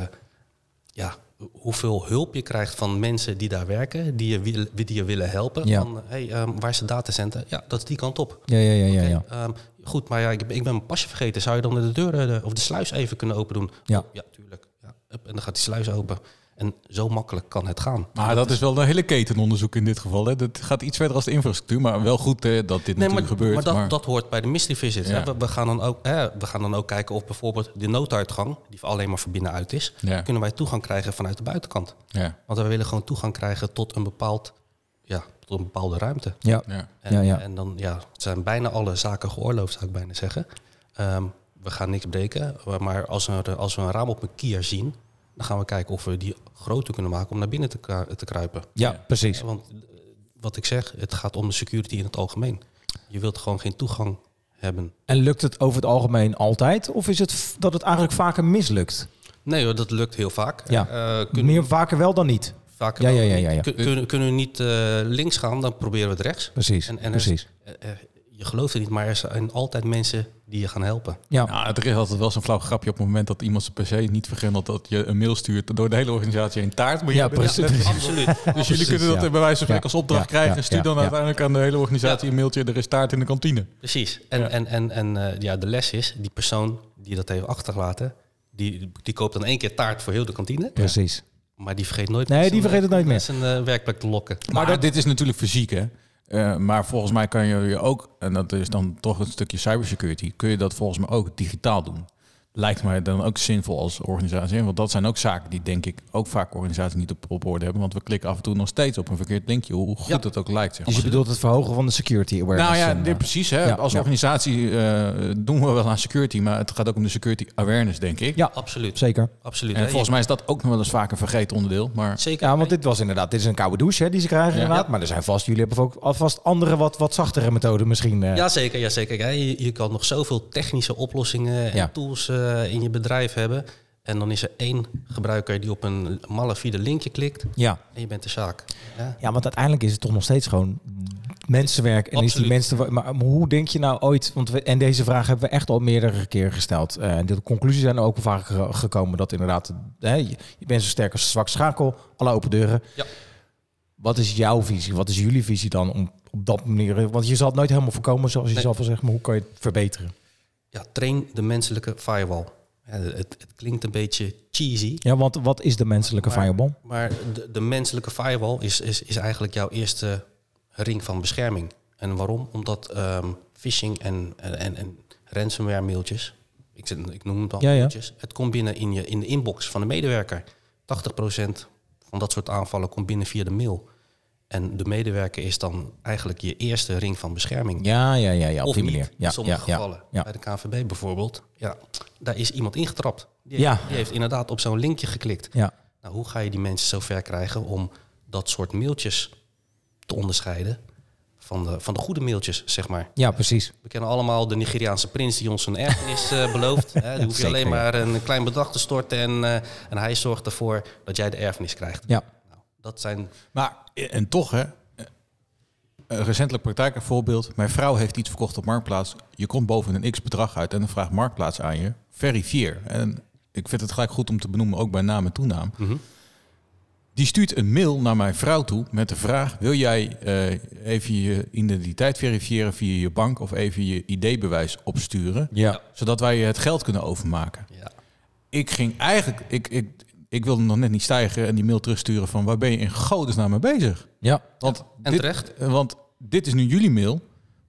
G: ja, hoeveel hulp je krijgt van mensen die daar werken, die je, wil- die je willen helpen.
F: Ja.
G: Van, hey, ehm, waar is het datacenter? Ja, dat is die kant op.
F: Ja, ja, ja, ja,
G: Oké,
F: ja.
G: ehm, goed, maar ja, ik, ben- ik ben mijn pasje vergeten. Zou je dan de deur eh, de- of de sluis even kunnen open doen?
F: Ja.
G: Oh, ja tuurlijk. Ja. Hup, En dan gaat die sluis open. En zo makkelijk kan het gaan.
E: Maar dat is wel een hele ketenonderzoek in dit geval. Hè. Dat gaat iets verder als de infrastructuur, maar wel goed hè, dat dit natuurlijk gebeurt.
G: maar, dat, dat hoort bij de mystery visit.
E: Ja.
G: hè. We, we gaan dan ook, hè, we gaan dan ook kijken of bijvoorbeeld de nooduitgang, die alleen maar voor binnenuit is,
E: Ja.
G: kunnen wij toegang krijgen vanuit de buitenkant.
E: Ja,
G: Want we willen gewoon toegang krijgen tot een, bepaald, ja, tot een bepaalde ruimte.
F: Ja.
E: ja.
G: En,
F: Ja, ja.
G: en dan ja, het zijn bijna alle zaken geoorloofd, zou ik bijna zeggen. Ehm, we gaan niks breken, maar als, er, als we een raam op een kier zien, dan gaan we kijken of we die groter kunnen maken om naar binnen te, kru- te kruipen.
F: Ja, precies.
G: Want eh, wat ik zeg, het gaat om de security in het algemeen. Je wilt gewoon geen toegang hebben.
F: En lukt het over het algemeen altijd? Of is het f- dat het eigenlijk vaker mislukt?
G: Nee hoor, dat lukt heel vaak.
F: Ja.
G: Eh, kunnen
F: Meer vaker wel dan niet.
G: vaak
F: Ja, ja, ja, ja, ja.
G: Kunnen, kunnen we niet eh, links gaan, dan proberen we het rechts.
F: Precies,
G: En- en er is-
F: precies.
G: Eh, eh, je gelooft het niet, maar er zijn altijd mensen die je gaan helpen.
F: Ja.
E: Nou, er is altijd wel zo'n flauw grapje op het moment dat iemand zijn PC niet vergrendelt dat je een mail stuurt door de hele organisatie in taart. Maar
F: Ja,
E: jij bent
F: precies.
E: net-
G: Absoluut.
E: Dus jullie kunnen
F: ja.
E: dat bij wijze van spreken
F: Ja,
E: als opdracht
F: ja,
E: krijgen.
F: ja,
E: en stuur dan
F: ja, ja.
E: uiteindelijk aan de hele organisatie een mailtje. Er is taart in de kantine.
G: Precies. En, en, en, en eh, ja, de les is, die persoon die dat heeft achtergelaten, die, die koopt dan één keer taart voor heel de kantine.
F: Precies.
G: Maar die vergeet nooit
F: Nee,
G: met
F: die
G: zijn,
F: vergeet het nooit
G: met
F: meer.
G: zijn eh, werkplek te lokken.
E: Maar, dat, dit is natuurlijk fysiek, hè? Eh, maar volgens mij kan je je ook, en dat is dan toch een stukje cybersecurity, kun je dat volgens mij ook digitaal doen. Lijkt mij dan ook zinvol als organisatie. Want dat zijn ook zaken die denk ik ook vaak organisaties niet op, op orde hebben. Want we klikken af en toe nog steeds op een verkeerd linkje, hoe goed het ook lijkt. Zeg
F: Dus
E: maar.
F: je bedoelt het verhogen van de security awareness?
E: nou ja,
F: en,
E: dit
F: eh,
E: precies. Hè?
F: ja,
E: Als
F: ja.
E: organisatie eh, doen we wel aan security, maar het gaat ook om de security awareness, denk ik.
F: Ja,
G: Absoluut.
F: zeker.
G: Absoluut.
E: En
G: hè.
E: volgens mij is dat ook nog wel eens vaak een vergeten onderdeel. Maar
G: Zeker.
F: Ja, want dit was inderdaad, dit is een koude douche hè, die ze krijgen
E: Ja.
F: inderdaad. Maar er zijn vast, jullie hebben ook alvast andere wat, wat zachtere methoden misschien. eh.
G: Ja, zeker. Ja, zeker. Kijk, je, je kan nog zoveel technische oplossingen en
F: Ja.
G: tools eh, in je bedrijf hebben. En dan is er één gebruiker die op een malafide linkje klikt
F: ja.
G: en je bent de zaak. Ja.
F: Ja, want uiteindelijk is het toch nog steeds gewoon mensenwerk. En is die
G: Absoluut.
F: mensen, maar, maar hoe denk je nou ooit, want we, en deze vraag hebben we echt al meerdere keren gesteld. Eh, de conclusies zijn ook al vaak ge- gekomen dat inderdaad, hè, je, je bent zo sterk als een zwak schakel, alle open deuren.
G: Ja.
F: Wat is jouw visie? Wat is jullie visie dan om op dat manier? Want je zal het nooit helemaal voorkomen, zoals je
G: Nee.
F: zelf al zegt, maar hoe kan je het verbeteren?
G: Ja, train de menselijke firewall. Ja, het, het klinkt een beetje cheesy,
F: Ja, want wat is de menselijke fireball?
G: maar de, de menselijke firewall is, is, is eigenlijk jouw eerste ring van bescherming. En waarom? Omdat ehm, phishing en, en, en, en ransomware mailtjes, ik, zit- ik noem het al
F: Ja, ja.
G: mailtjes, het komt binnen in, je, in de inbox van de medewerker. 80% van dat soort aanvallen komt binnen via de mail. En de medewerker is dan eigenlijk je eerste ring van bescherming.
F: Ja, ja, ja, ja op
G: of
F: die
G: niet,
F: manier. Ja,
G: in sommige
F: ja, ja,
G: gevallen.
F: Ja,
G: Bij de KVB bijvoorbeeld, ja, daar is iemand ingetrapt. Die,
F: Ja.
G: heeft, die heeft inderdaad op zo'n linkje geklikt.
F: ja.
G: Nou, hoe ga je die mensen zover krijgen om dat soort mailtjes te onderscheiden van de, van de goede mailtjes, zeg maar?
F: ja precies.
G: We kennen allemaal de Nigeriaanse prins die ons een erfenis eh, belooft. Hè, die hoef je
F: zeker,
G: alleen
F: ja.
G: maar een klein bedrag te storten en, eh, en hij zorgt ervoor dat jij de erfenis krijgt.
F: Ja.
G: Nou, dat zijn
E: Maar, en toch hè, eh, een recentelijk praktijkvoorbeeld. Mijn vrouw heeft iets verkocht op Marktplaats. Je komt boven een x-bedrag uit en dan vraagt Marktplaats aan je, verifieer. En ik vind het gelijk goed om te benoemen, ook bij naam en toenaam. Die stuurt een mail naar mijn vrouw toe met de vraag... wil jij eh, even je identiteit verifiëren via je bank... of even je ID-bewijs opsturen...
F: Ja.
E: zodat wij je het geld kunnen overmaken.
G: ja,
E: Ik ging eigenlijk... Ik, ik, ik wilde nog net niet stijgen en die mail terugsturen van... waar ben je in godesnaam mee bezig?
F: Ja.
E: Want
G: En
E: dit,
G: terecht.
E: eh, Want dit is nu jullie mail.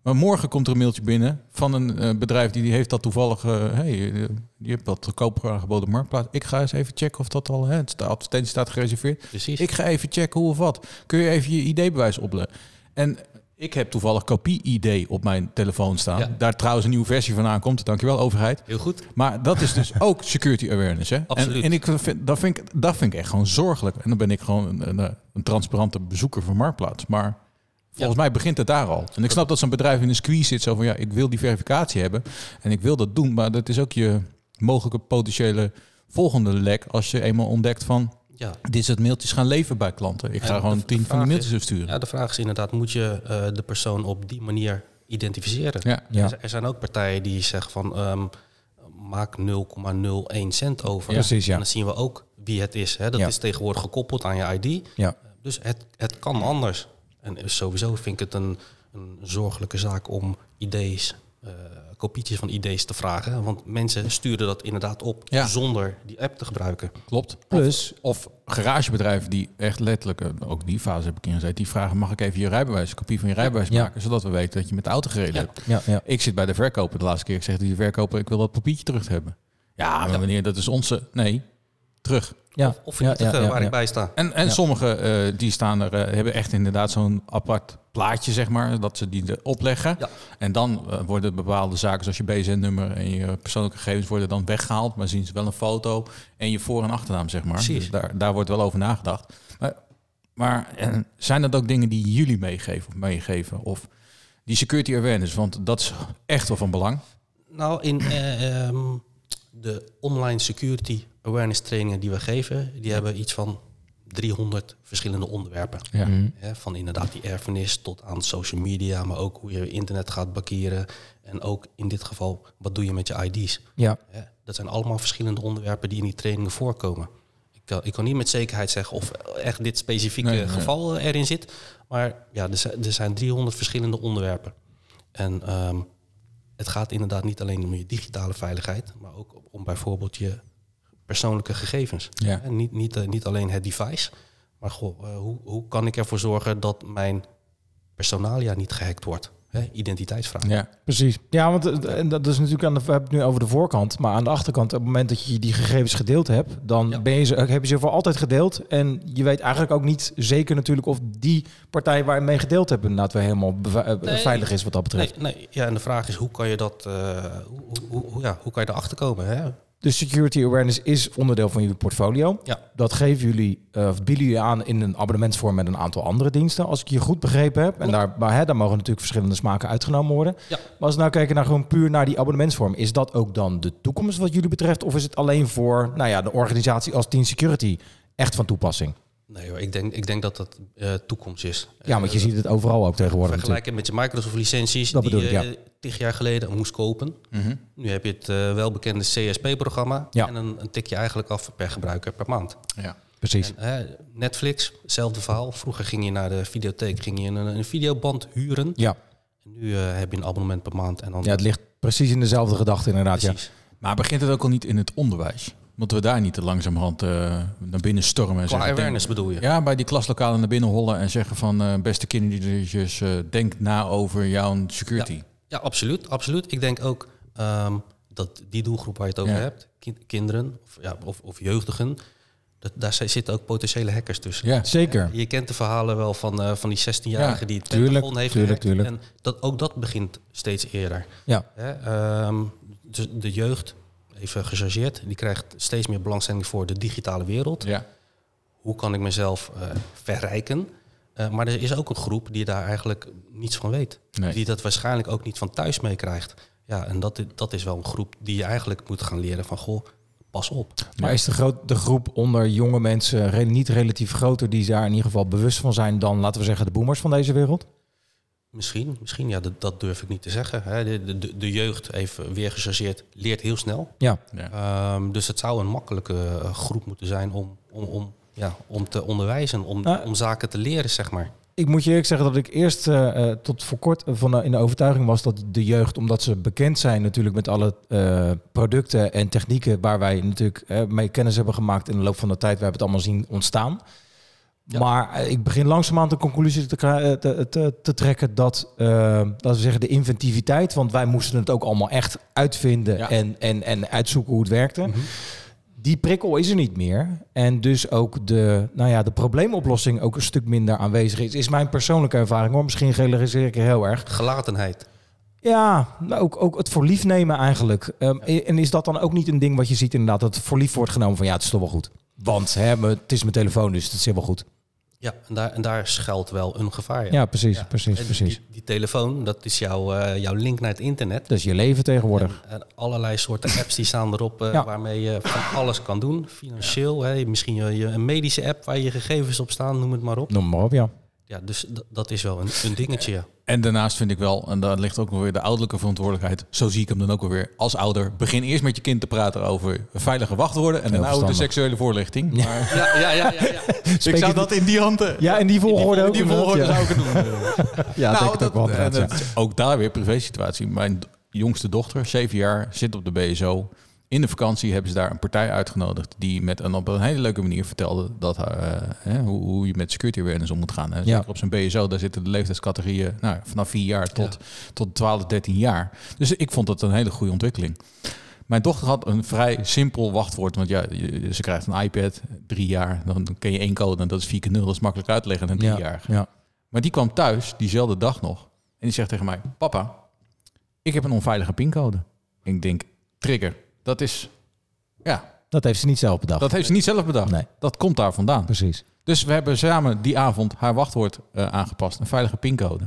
E: Maar morgen komt er een mailtje binnen van een eh, bedrijf die, die heeft dat toevallig. eh, hey, eh, je hebt dat te koop aangeboden op marktplaats. Ik ga eens even checken of dat al. Hè, het staat- de advertentie staat gereserveerd.
G: precies.
E: Ik ga even checken hoe of wat. Kun je even je ID-bewijs opleggen? En ik heb toevallig kopie-ID op mijn telefoon staan.
G: Ja.
E: Daar trouwens een nieuwe versie van aankomt. Dankjewel, overheid.
G: Heel goed.
E: Maar dat is dus ook security awareness. Hè?
G: Absoluut.
E: En, en ik vind, dat, vind ik, dat vind ik echt gewoon zorgelijk. En dan ben ik gewoon een, een, een transparante bezoeker van Marktplaats. Maar volgens mij begint het daar al. En ik snap dat zo'n bedrijf in een squeeze zit. Zo van ja, ik wil die verificatie hebben. En ik wil dat doen. Maar dat is ook je mogelijke potentiële volgende lek. Als je eenmaal ontdekt van
G: Ja.
E: dit soort mailtjes gaan leven bij klanten. Ik ga
G: En
E: gewoon
G: de- de
E: tien van
G: vraag
E: die
G: is-
E: mailtjes versturen.
G: Ja, de vraag is inderdaad, moet je eh, de persoon op die manier identificeren?
E: Ja.
F: Ja.
G: Er- Er zijn ook partijen die zeggen van ehm, maak 0,01 cent over.
F: Ja. Precies, ja.
G: En dan zien we ook wie het is. Hè? Dat
F: Ja.
G: is tegenwoordig gekoppeld aan je ID.
F: Ja.
G: Dus het, het kan anders. En sowieso vind ik het een, een zorgelijke zaak om ID's, eh, kopietjes van ID's te vragen. Want mensen sturen dat inderdaad op
E: Ja.
G: zonder die app te gebruiken.
E: Klopt.
F: Plus-
E: Of, of garagebedrijven die echt letterlijk, eh, ook die fase heb ik ingezet, die vragen: mag ik even je rijbewijs, een kopie van je rijbewijs
F: Ja.
E: maken, zodat we weten dat je met de auto gereden hebt.
F: Ja, ja.
E: Ik zit bij de verkoper de laatste keer. Ik zeg tegen die verkoper: ik wil dat papiertje terug hebben. Ja, maar meneer, dat is onze. Nee, terug.
F: Ja.
G: Of vernietigen
F: ja, ja,
G: waar
F: ja.
G: ik bij sta.
E: En, en sommigen eh, die staan er, eh, hebben echt inderdaad zo'n apart plaatje, zeg maar, dat ze die er opleggen.
G: Ja.
E: En dan eh, worden bepaalde zaken zoals je BZN-nummer en je persoonlijke gegevens worden dan weggehaald, maar zien ze wel een foto en je voor- en achternaam, zeg maar.
G: Precies.
E: Dus daar, daar wordt wel over nagedacht. Maar, maar eh, zijn dat ook dingen die jullie meegeven of meegeven? Of die security awareness, want dat is echt wel van belang.
G: Nou, in eh, ehm, de online security awareness trainingen die we geven, die hebben iets van 300 verschillende onderwerpen.
E: Ja.
G: Hè, van inderdaad die erfenis tot aan social media, maar ook hoe je internet gaat bankieren. En ook in dit geval, wat doe je met je ID's?
F: Ja.
G: Hè, dat zijn allemaal verschillende onderwerpen die in die trainingen voorkomen. Ik kan, ik kan niet met zekerheid zeggen of echt dit specifieke
E: Nee, nee.
G: geval eh, erin zit. Maar ja, er zijn, er zijn 300 verschillende onderwerpen. En ehm, het gaat inderdaad niet alleen om je digitale veiligheid, maar ook om bijvoorbeeld je persoonlijke gegevens.
E: Ja.
G: En niet, niet, eh, niet alleen het device, maar goh, eh, hoe, hoe kan ik ervoor zorgen dat mijn personalia niet gehackt wordt? Hè? Identiteitsvraag.
E: Ja.
F: Precies. Ja, want eh, en dat is natuurlijk aan de, we hebben het nu over de voorkant, maar aan de achterkant, op het moment dat je die gegevens gedeeld hebt, dan
G: Ja.
F: ben je ze, heb je ze voor altijd gedeeld. En je weet eigenlijk ook niet zeker natuurlijk of die partij waar je mee gedeeld hebt, inderdaad weer helemaal beva- eh,
G: Nee.
F: veilig is wat dat betreft.
G: Nee, nee, ja, en de vraag is hoe kan je dat, eh, hoe, hoe, hoe- ja, hoe kan je erachter komen? Hè?
F: Dus security awareness is onderdeel van jullie portfolio.
G: Ja.
F: Dat geven jullie, eh, of bieden jullie aan in een abonnementsvorm met een aantal andere diensten, als ik je goed begrepen heb. En daar, maar, hè, daar mogen natuurlijk verschillende smaken uitgenomen worden.
G: Ja.
F: Maar als we nou kijken naar gewoon puur naar die abonnementsvorm, is dat ook dan de toekomst wat jullie betreft? Of is het alleen voor nou ja, de organisatie als Team Security echt van toepassing?
G: Nee hoor, ik denk, ik denk dat dat eh, toekomst is. Eh,
F: Ja, want je ziet het overal ook tegenwoordig natuurlijk.
G: Vergelijken met je Microsoft-licenties
F: Dat
G: die je
F: bedoel ik, ja. Mhm.
G: eh, tig jaar geleden moest kopen. Nu heb je het eh, welbekende CSP-programma
F: Ja.
G: en dan tik je eigenlijk af per gebruiker per maand.
E: Ja.
F: precies.
G: En, eh, Netflix, hetzelfde verhaal. Vroeger ging je naar de videotheek, ging je een, een videoband huren.
F: ja.
G: En Nu eh, heb je een abonnement per maand. En dan
F: ja, het ligt precies in dezelfde gedachte inderdaad. Ja.
G: precies.
E: Maar begint het ook al niet in het onderwijs? Moeten we daar niet te langzamerhand eh, naar binnen stormen? en
G: Qua
E: zeggen,
G: awareness
E: denk-
G: bedoel je?
E: Ja, bij die klaslokalen naar binnen hollen en zeggen van... eh, beste kindertjes, eh, denk na over jouw security.
G: Ja, absoluut. absoluut. Ik denk ook ehm, dat die doelgroep waar je het over
E: Ja.
G: hebt, kin- kinderen of, ja, of, of jeugdigen, dat, daar zi- zitten ook potentiële hackers tussen.
E: Ja.
F: Zeker.
G: Je kent de verhalen wel van, eh, van die 16-jarige
E: Ja,
G: die het
F: tuurlijk,
G: Pentagon heeft
F: tuurlijk,
G: gehackt.
F: tuurlijk.
G: En dat, ook dat begint steeds eerder.
F: Ja.
G: Hè, ehm, dus de jeugd, even gechargeerd, die krijgt steeds meer belangstelling voor de digitale wereld.
E: Ja.
G: Hoe kan ik mezelf eh, verrijken? Eh, maar er is ook een groep die daar eigenlijk niets van weet.
E: Nee.
G: Die dat waarschijnlijk ook niet van thuis meekrijgt. Ja, en dat, i- dat is wel een groep die je eigenlijk moet gaan leren van... goh, pas op.
F: Maar is de, groot, de groep onder jonge mensen re- niet relatief groter die daar in ieder geval bewust van zijn dan, laten we zeggen, de boomers van deze wereld?
G: Misschien, misschien ja, dat, dat durf ik niet te zeggen. Hè. De, de- de, de jeugd, even weer gechargeerd, leert heel snel.
F: Ja.
G: Ehm, dus het zou een makkelijke eh, groep moeten zijn om, om, om, ja, om te onderwijzen, om,
F: Nou,
G: om zaken te leren, zeg maar.
F: Ik moet je eerlijk zeggen dat ik eerst eh, eh, tot voor kort van, de- in de overtuiging was dat de jeugd, omdat ze bekend zijn natuurlijk met alle eh, producten en technieken waar wij natuurlijk eh, mee kennis hebben gemaakt in de loop van de tijd, we hebben het allemaal zien ontstaan.
G: Ja.
F: Maar eh, ik begin langzaamaan de conclusie te, kra- eh, te, te, te trekken dat, eh, laten we zeggen, de inventiviteit, want wij moesten het ook allemaal echt uitvinden
E: Ja.
F: en, en, en uitzoeken hoe het werkte. Die prikkel is er niet meer. En dus ook de, nou ja, de probleemoplossing ook een stuk minder aanwezig is. Is mijn persoonlijke ervaring hoor. Misschien generaliseer ik er heel erg.
G: Gelatenheid.
F: Ja, maar ook, ook het voor lief nemen eigenlijk. Ehm, En is dat dan ook niet een ding wat je ziet inderdaad? Dat het voor lief wordt genomen van ja, het is toch wel goed. Want hè, me- het is mijn telefoon, dus het is helemaal goed.
G: Ja, en daar, en daar schuilt wel een gevaar.
F: Ja, precies, precies,
G: En
F: precies.
G: Die, die telefoon, dat is jouw, eh, jouw link naar het internet.
F: Dat is je leven tegenwoordig.
G: En allerlei soorten apps die staan erop eh,
F: Ja.
G: waarmee je van alles kan doen. Financieel, hè, misschien je, je- een medische app waar je gegevens op staan, noem het maar op.
F: Noem maar op, ja.
G: Ja, dus dat- dat is wel een, een dingetje. ja.
E: En daarnaast vind ik wel, en daar ligt ook wel weer de ouderlijke verantwoordelijkheid. Zo zie ik hem dan ook alweer als ouder. Begin eerst met je kind te praten over veilige wachtwoorden en daarna over de
F: verstandig.
E: seksuele voorlichting. Maar
G: Ja, ja, ja, ja, ja.
E: ik zou
F: je-
E: dat in die handen.
F: Ja, in die volgorde ook.
E: Die
F: inderdaad,
E: volgorde
F: ja.
E: zou ik het doen.
F: Ja,
E: Nou,
F: denk ik ook wel.
E: dat-
F: inderdaad,
E: en
F: ja.
E: dat- Ook daar weer privé situatie. Mijn d- jongste dochter, zeven jaar, zit op de BSO. In de vakantie hebben ze daar een partij uitgenodigd die met een, op een hele leuke manier vertelde dat, haar, eh, hè, hoe, hoe je met security awareness om moet gaan. Hè. Zeker op zijn BSO, daar zitten de leeftijdscategorieën nou, vanaf vier jaar tot, tot 12, 13 jaar. Dus ik vond dat een hele goede ontwikkeling. Mijn dochter had een vrij simpel wachtwoord. Want ja, je- ze krijgt een iPad, drie jaar. Dan ken je één code en dat is 4 keer 0. Dat is makkelijk uit te leggen aan een
F: Ja,
E: driejarige.
F: ja.
E: Maar die kwam thuis diezelfde dag nog. En die zegt tegen mij: Papa, ik heb een onveilige pincode. Ik denk: Trigger. Dat is. Ja,
F: Dat heeft ze niet zelf bedacht.
E: dat heeft ze niet zelf bedacht.
F: Nee.
E: Dat komt daar vandaan.
F: Precies.
E: Dus we hebben samen die avond haar wachtwoord eh, aangepast. Een veilige pincode.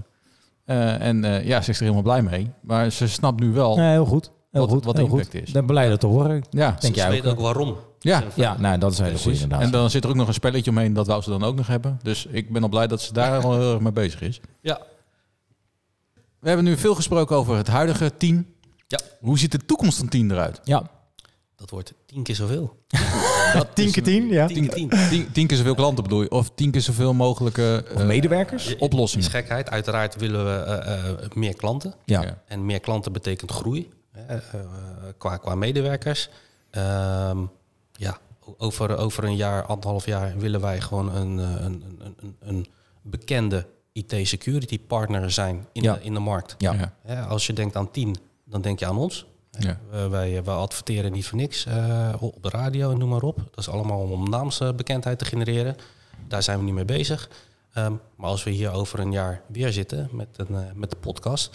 E: Eh, en eh, ja, ze is er helemaal blij mee. Maar ze snapt nu wel.
F: Nee, heel goed. Heel
E: Wat-
F: goed.
E: wat de
F: heel
E: impact
F: goed.
E: is.
F: Dan blij dat te horen.
E: Ja,
F: Denk
G: Ze
F: jij
G: weten
F: ook, eh?
G: ook waarom.
E: ja.
F: Ja, nou, dat is een hele goede
E: Precies.
F: inderdaad.
E: En dan zit er ook nog een spelletje omheen, dat wou ze dan ook nog hebben. Dus ik ben al blij dat ze daar al heel erg mee bezig is.
G: Ja,
E: We hebben nu veel gesproken over het huidige team.
G: Ja.
E: Hoe ziet de toekomst van team eruit?
F: ja.
G: dat wordt tien keer zoveel.
E: Dat
F: Tien
E: is
F: keer
E: een-
F: tien, ja.
G: Tien keer tien.
E: Tien, tien keer zoveel klanten bedoel je? Of tien keer zoveel mogelijke eh,
F: Medewerkers?
G: Is
E: oplossingen?
G: gekheid. Uiteraard willen we eh, eh, meer klanten.
F: Ja.
E: Ja.
G: En meer klanten betekent groei hè, eh, eh, qua, qua medewerkers. Ehm, ja, o- over, over een jaar, anderhalf jaar willen wij gewoon een, eh, een, een, een, een bekende IT-security partner zijn in,
F: Ja.
G: de, in de markt.
F: Ja.
E: Ja.
G: Hè, als je denkt aan tien, dan denk je aan ons.
E: Ja.
G: Eh, wij, wij adverteren niet voor niks eh, op de radio en noem maar op. Dat is allemaal om, om naamsbekendheid te genereren. Daar zijn we niet mee bezig. Ehm, maar als we hier over een jaar weer zitten met, een, eh, met de podcast,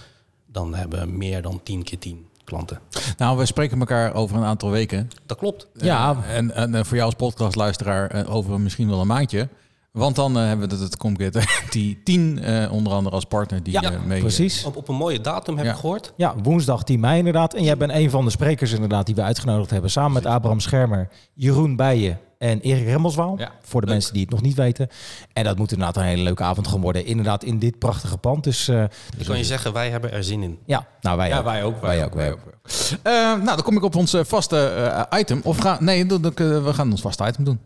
G: dan hebben we meer dan 10 keer 10 klanten.
E: Nou, we spreken elkaar over een aantal weken.
G: Dat klopt.
F: Ja.
E: Eh, en, en eh, voor jou als podcastluisteraar eh, over misschien wel een maandje. Want dan eh, hebben we het, het Comget, die tien eh, onder andere als partner die eh, mee...
F: Precies.
G: Op, op een mooie datum heb
E: Ja.
G: ik gehoord.
F: Ja, woensdag 10 mei inderdaad. En jij bent een van de sprekers inderdaad die we uitgenodigd hebben. Samen met Abraham Schermer, Jeroen Bijen en Erik Remmelswaal.
E: Ja,
F: voor de mensen die het nog niet weten. En dat moet inderdaad een hele leuke avond gaan worden. Inderdaad in dit prachtige pand. Dus eh,
G: Ik kan je zeggen, wij hebben er zin in.
F: ja, nou wij
E: Ja,
F: ook.
E: wij ook.
F: Wij ook, wij ook.
E: Eh, nou, dan kom ik op ons eh, vaste eh, item. Of ga, nee, doe- doe- eh, we gaan ons vaste item doen.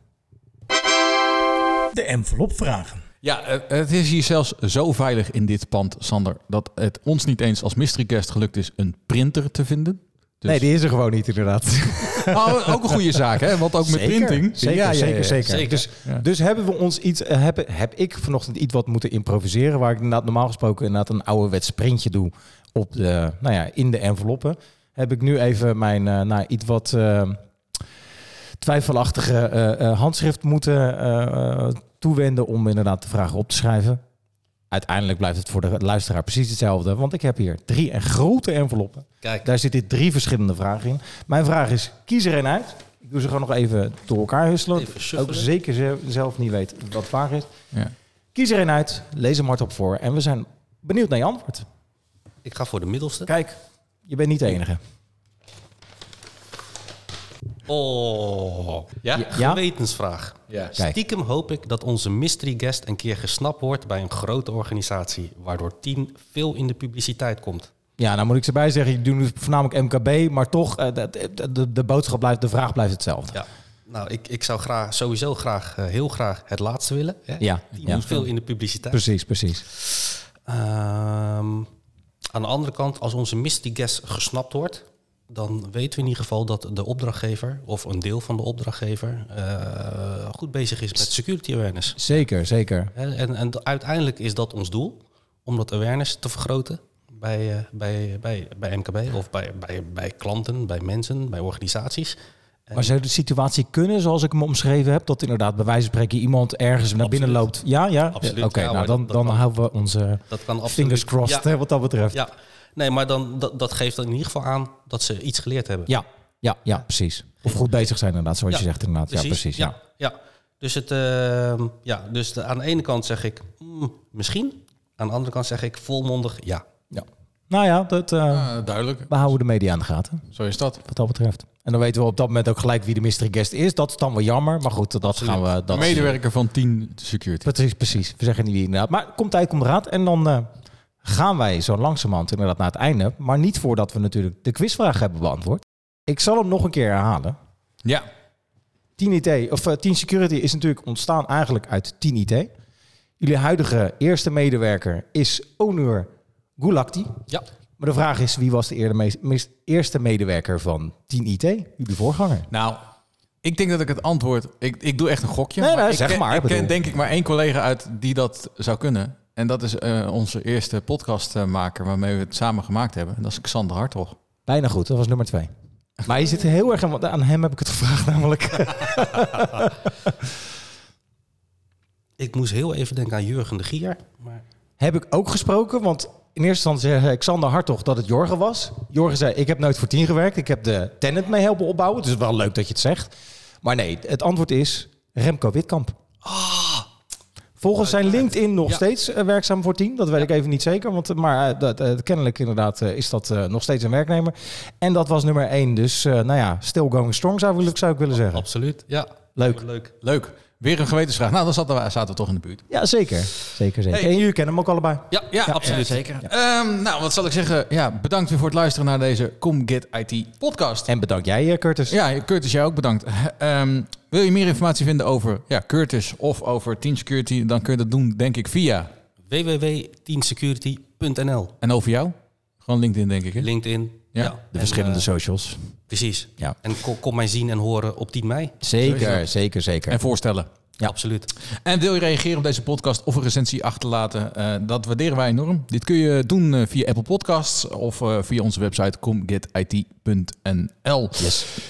A: de envelop vragen.
E: Ja, eh, het is hier zelfs zo veilig in dit pand, Sander, dat het ons niet eens als mystery guest gelukt is een printer te vinden. Dus-
F: Nee, die is er gewoon niet inderdaad.
E: Oh, ook een goede zaak, hè? Want ook met
F: Zeker,
E: printing.
F: Zeker,
E: Ja, ja, ja.
F: zeker, zeker.
G: Zeker.
F: Dus,
E: Ja.
F: dus hebben we ons iets, eh, heb, heb ik vanochtend iets wat moeten improviseren, waar ik inderdaad normaal gesproken inderdaad een ouderwets sprintje doe op de, nou ja, in de enveloppen. Heb ik nu even mijn eh, nou, iets wat eh, twijfelachtige eh, eh, handschrift moeten eh, eh, toewenden om inderdaad de vragen op te schrijven. Uiteindelijk blijft het voor de luisteraar precies hetzelfde, want ik heb hier drie en grote enveloppen.
G: Kijk,
F: Daar zitten drie verschillende vragen in. Mijn vraag is, kies er een uit. Ik doe ze gewoon nog even door elkaar husselen.
G: Even
F: Ook
G: shuffelen.
F: zeker ze- zelf niet weet wat waar is.
E: Ja.
F: Kies er een uit, lees hem hardop voor. En we zijn benieuwd naar je antwoord.
G: ik ga voor de middelste.
F: Kijk, je bent niet de enige.
G: Oh,
E: Ja?
F: Ja?
G: gewetensvraag.
E: Ja.
F: Kijk.
G: Stiekem hoop ik dat onze mystery guest een keer gesnapt wordt bij een grote organisatie, waardoor Team veel in de publiciteit komt.
F: Ja, nou moet ik ze bij zeggen, je doet nu voornamelijk MKB. Maar toch, eh, de, de, de, de boodschap blijft, de vraag blijft hetzelfde.
G: Ja. Nou, ik, ik zou graag, sowieso graag, eh, heel graag het laatste willen. Hè?
F: Ja,
G: Team
F: ja.
G: veel in de publiciteit.
F: Precies, precies.
G: Ehm, aan de andere kant, als onze mystery guest gesnapt wordt, dan weten we in ieder geval dat de opdrachtgever, of een deel van de opdrachtgever, eh, goed bezig is met security awareness.
F: Zeker, zeker.
G: Hè, En, en d- uiteindelijk is dat ons doel, om dat awareness te vergroten bij, eh, bij, bij, bij MKB of bij, bij, bij klanten, bij mensen, bij organisaties.
F: Maar zou de situatie kunnen, zoals ik hem omschreven heb, dat inderdaad bij wijze van spreken iemand ergens naar binnen loopt? Ja, ja.
G: Absoluut,
F: Oké,
G: ja,
F: nou
G: maar
F: dan,
G: dat- dat
F: dan
G: kan.
F: houden we onze
G: Dat kan absoluut.
F: fingers crossed
G: Ja,
F: hè, wat dat betreft. Ja,
G: ja. Nee, maar dan, dat, dat geeft in ieder geval aan dat ze iets geleerd hebben.
F: ja, ja, precies. Of goed bezig zijn inderdaad, zoals
G: Ja,
F: je zegt inderdaad. Ja, precies. Ja.
G: Ja, ja. Dus, het, ehm, ja, dus de- aan de ene kant zeg ik mm, misschien. Aan de andere kant zeg ik volmondig ja.
F: Ja. Nou ja, dat, eh,
E: Ah, duidelijk.
F: we houden de media aan de gaten,
E: Zo is dat.
F: wat dat betreft. En dan weten we op dat moment ook gelijk wie de mystery guest is. Dat is dan wel jammer, maar goed, dat gaan we... Dat
E: Medewerker van 10 Security.
F: Precies, precies. We zeggen niet wie inderdaad. Maar komt tijd, komt raad. En dan eh, gaan wij zo langzamerhand inderdaad naar het einde. Maar niet voordat we natuurlijk de quizvraag hebben beantwoord. Ik zal hem nog een keer herhalen.
E: Ja.
F: 10 IT, of eh, 10 Security is natuurlijk ontstaan eigenlijk uit 10 IT. Jullie huidige eerste medewerker is Onur Gulakti.
G: Ja.
F: Maar de vraag is, wie was de eerder meest- meest- eerste medewerker van 10 IT? Jullie voorganger.
E: Nou, ik denk dat ik het antwoord... Ik, ik doe echt een gokje.
F: Nee, nee,
E: ik
F: zeg
E: ken,
F: maar,
E: Ik ken
F: bedoel.
E: denk ik maar één collega uit die dat zou kunnen. En dat is eh, onze eerste podcastmaker waarmee we het samen gemaakt hebben. En dat is Xander Hartog.
F: Bijna goed, dat was nummer twee. Maar je zit heel erg aan, aan hem heb ik het gevraagd namelijk.
G: Ik moest heel even denken aan Jurgen de Gier. Maar
F: Heb ik ook gesproken, want in eerste instantie zei Xander Hartog dat het Jorgen was. Jorgen zei, ik heb nooit voor tien gewerkt. Ik heb de tenant mee helpen opbouwen. Dus Het is wel leuk dat je het zegt. Maar nee, het antwoord is Remco Witkamp. Volgens zijn LinkedIn nog
G: Ah. Ja.
F: steeds eh, werkzaam voor tien. Dat weet ik even niet zeker. Want, eh, maar eh, dat, eh, kennelijk inderdaad eh, is dat eh, nog steeds een werknemer. En dat was nummer één. Dus eh, nou ja, still going strong zou ik, zou ik willen zeggen.
G: absoluut, ja.
F: Leuk.
G: Leuk.
E: Leuk. Weer een gewetensvraag. Nou, dan zaten we, zaten we toch in de buurt.
F: Ja, zeker. Zeker, zeker.
E: Hey.
F: En jullie kennen hem ook allebei.
G: Ja, ja, absoluut. zeker.
E: Ehm, nou, wat zal ik zeggen? Ja, bedankt weer voor het luisteren naar deze Come Get IT podcast.
F: En bedankt jij, eh, Curtis.
E: Ja, Curtis, jij ook bedankt. Ehm, wil je meer informatie vinden over ja, Curtis of over Team Security? Dan kun je dat doen, denk ik, via.
G: www.teamsecurity.nl
E: En over jou? Gewoon LinkedIn, denk ik. Hè?
G: LinkedIn.
E: Ja, de
G: En, eh,
F: socials.
G: precies.
F: Ja.
G: En ko- kom mij zien en horen op 10 mei.
F: Zeker, zeker, zeker.
E: En voorstellen.
G: Absoluut.
E: En wil je reageren op deze podcast of een recensie achterlaten? eh, dat waarderen wij enorm. Dit kun je doen eh, via Apple Podcasts of eh, via onze website comgetit.nl.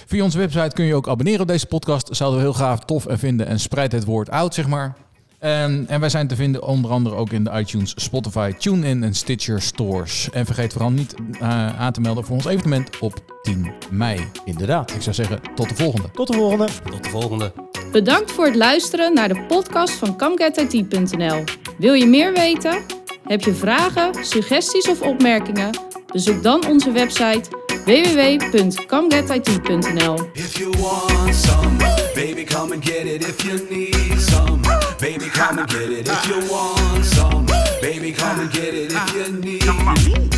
E: Via onze website kun je ook abonneren op deze podcast. Zouden we heel gaaf, tof en vinden. En spreid het woord uit, zeg maar. En, en wij zijn te vinden onder andere ook in de iTunes, Spotify, TuneIn en Stitcher stores. En vergeet vooral niet eh, aan te melden voor ons evenement op 10 mei.
F: Inderdaad.
E: Ik zou zeggen, tot de volgende.
F: Tot de volgende.
G: Tot de volgende.
D: Bedankt voor het luisteren naar de podcast van ComeGetIT.nl. Wil je meer weten? Heb je vragen, suggesties of opmerkingen? Bezoek dan onze website www.comegetit.nl.
C: If you want some, baby, come and get it. If you need some, baby, come and get it. If you want some, baby, come and get it. If you need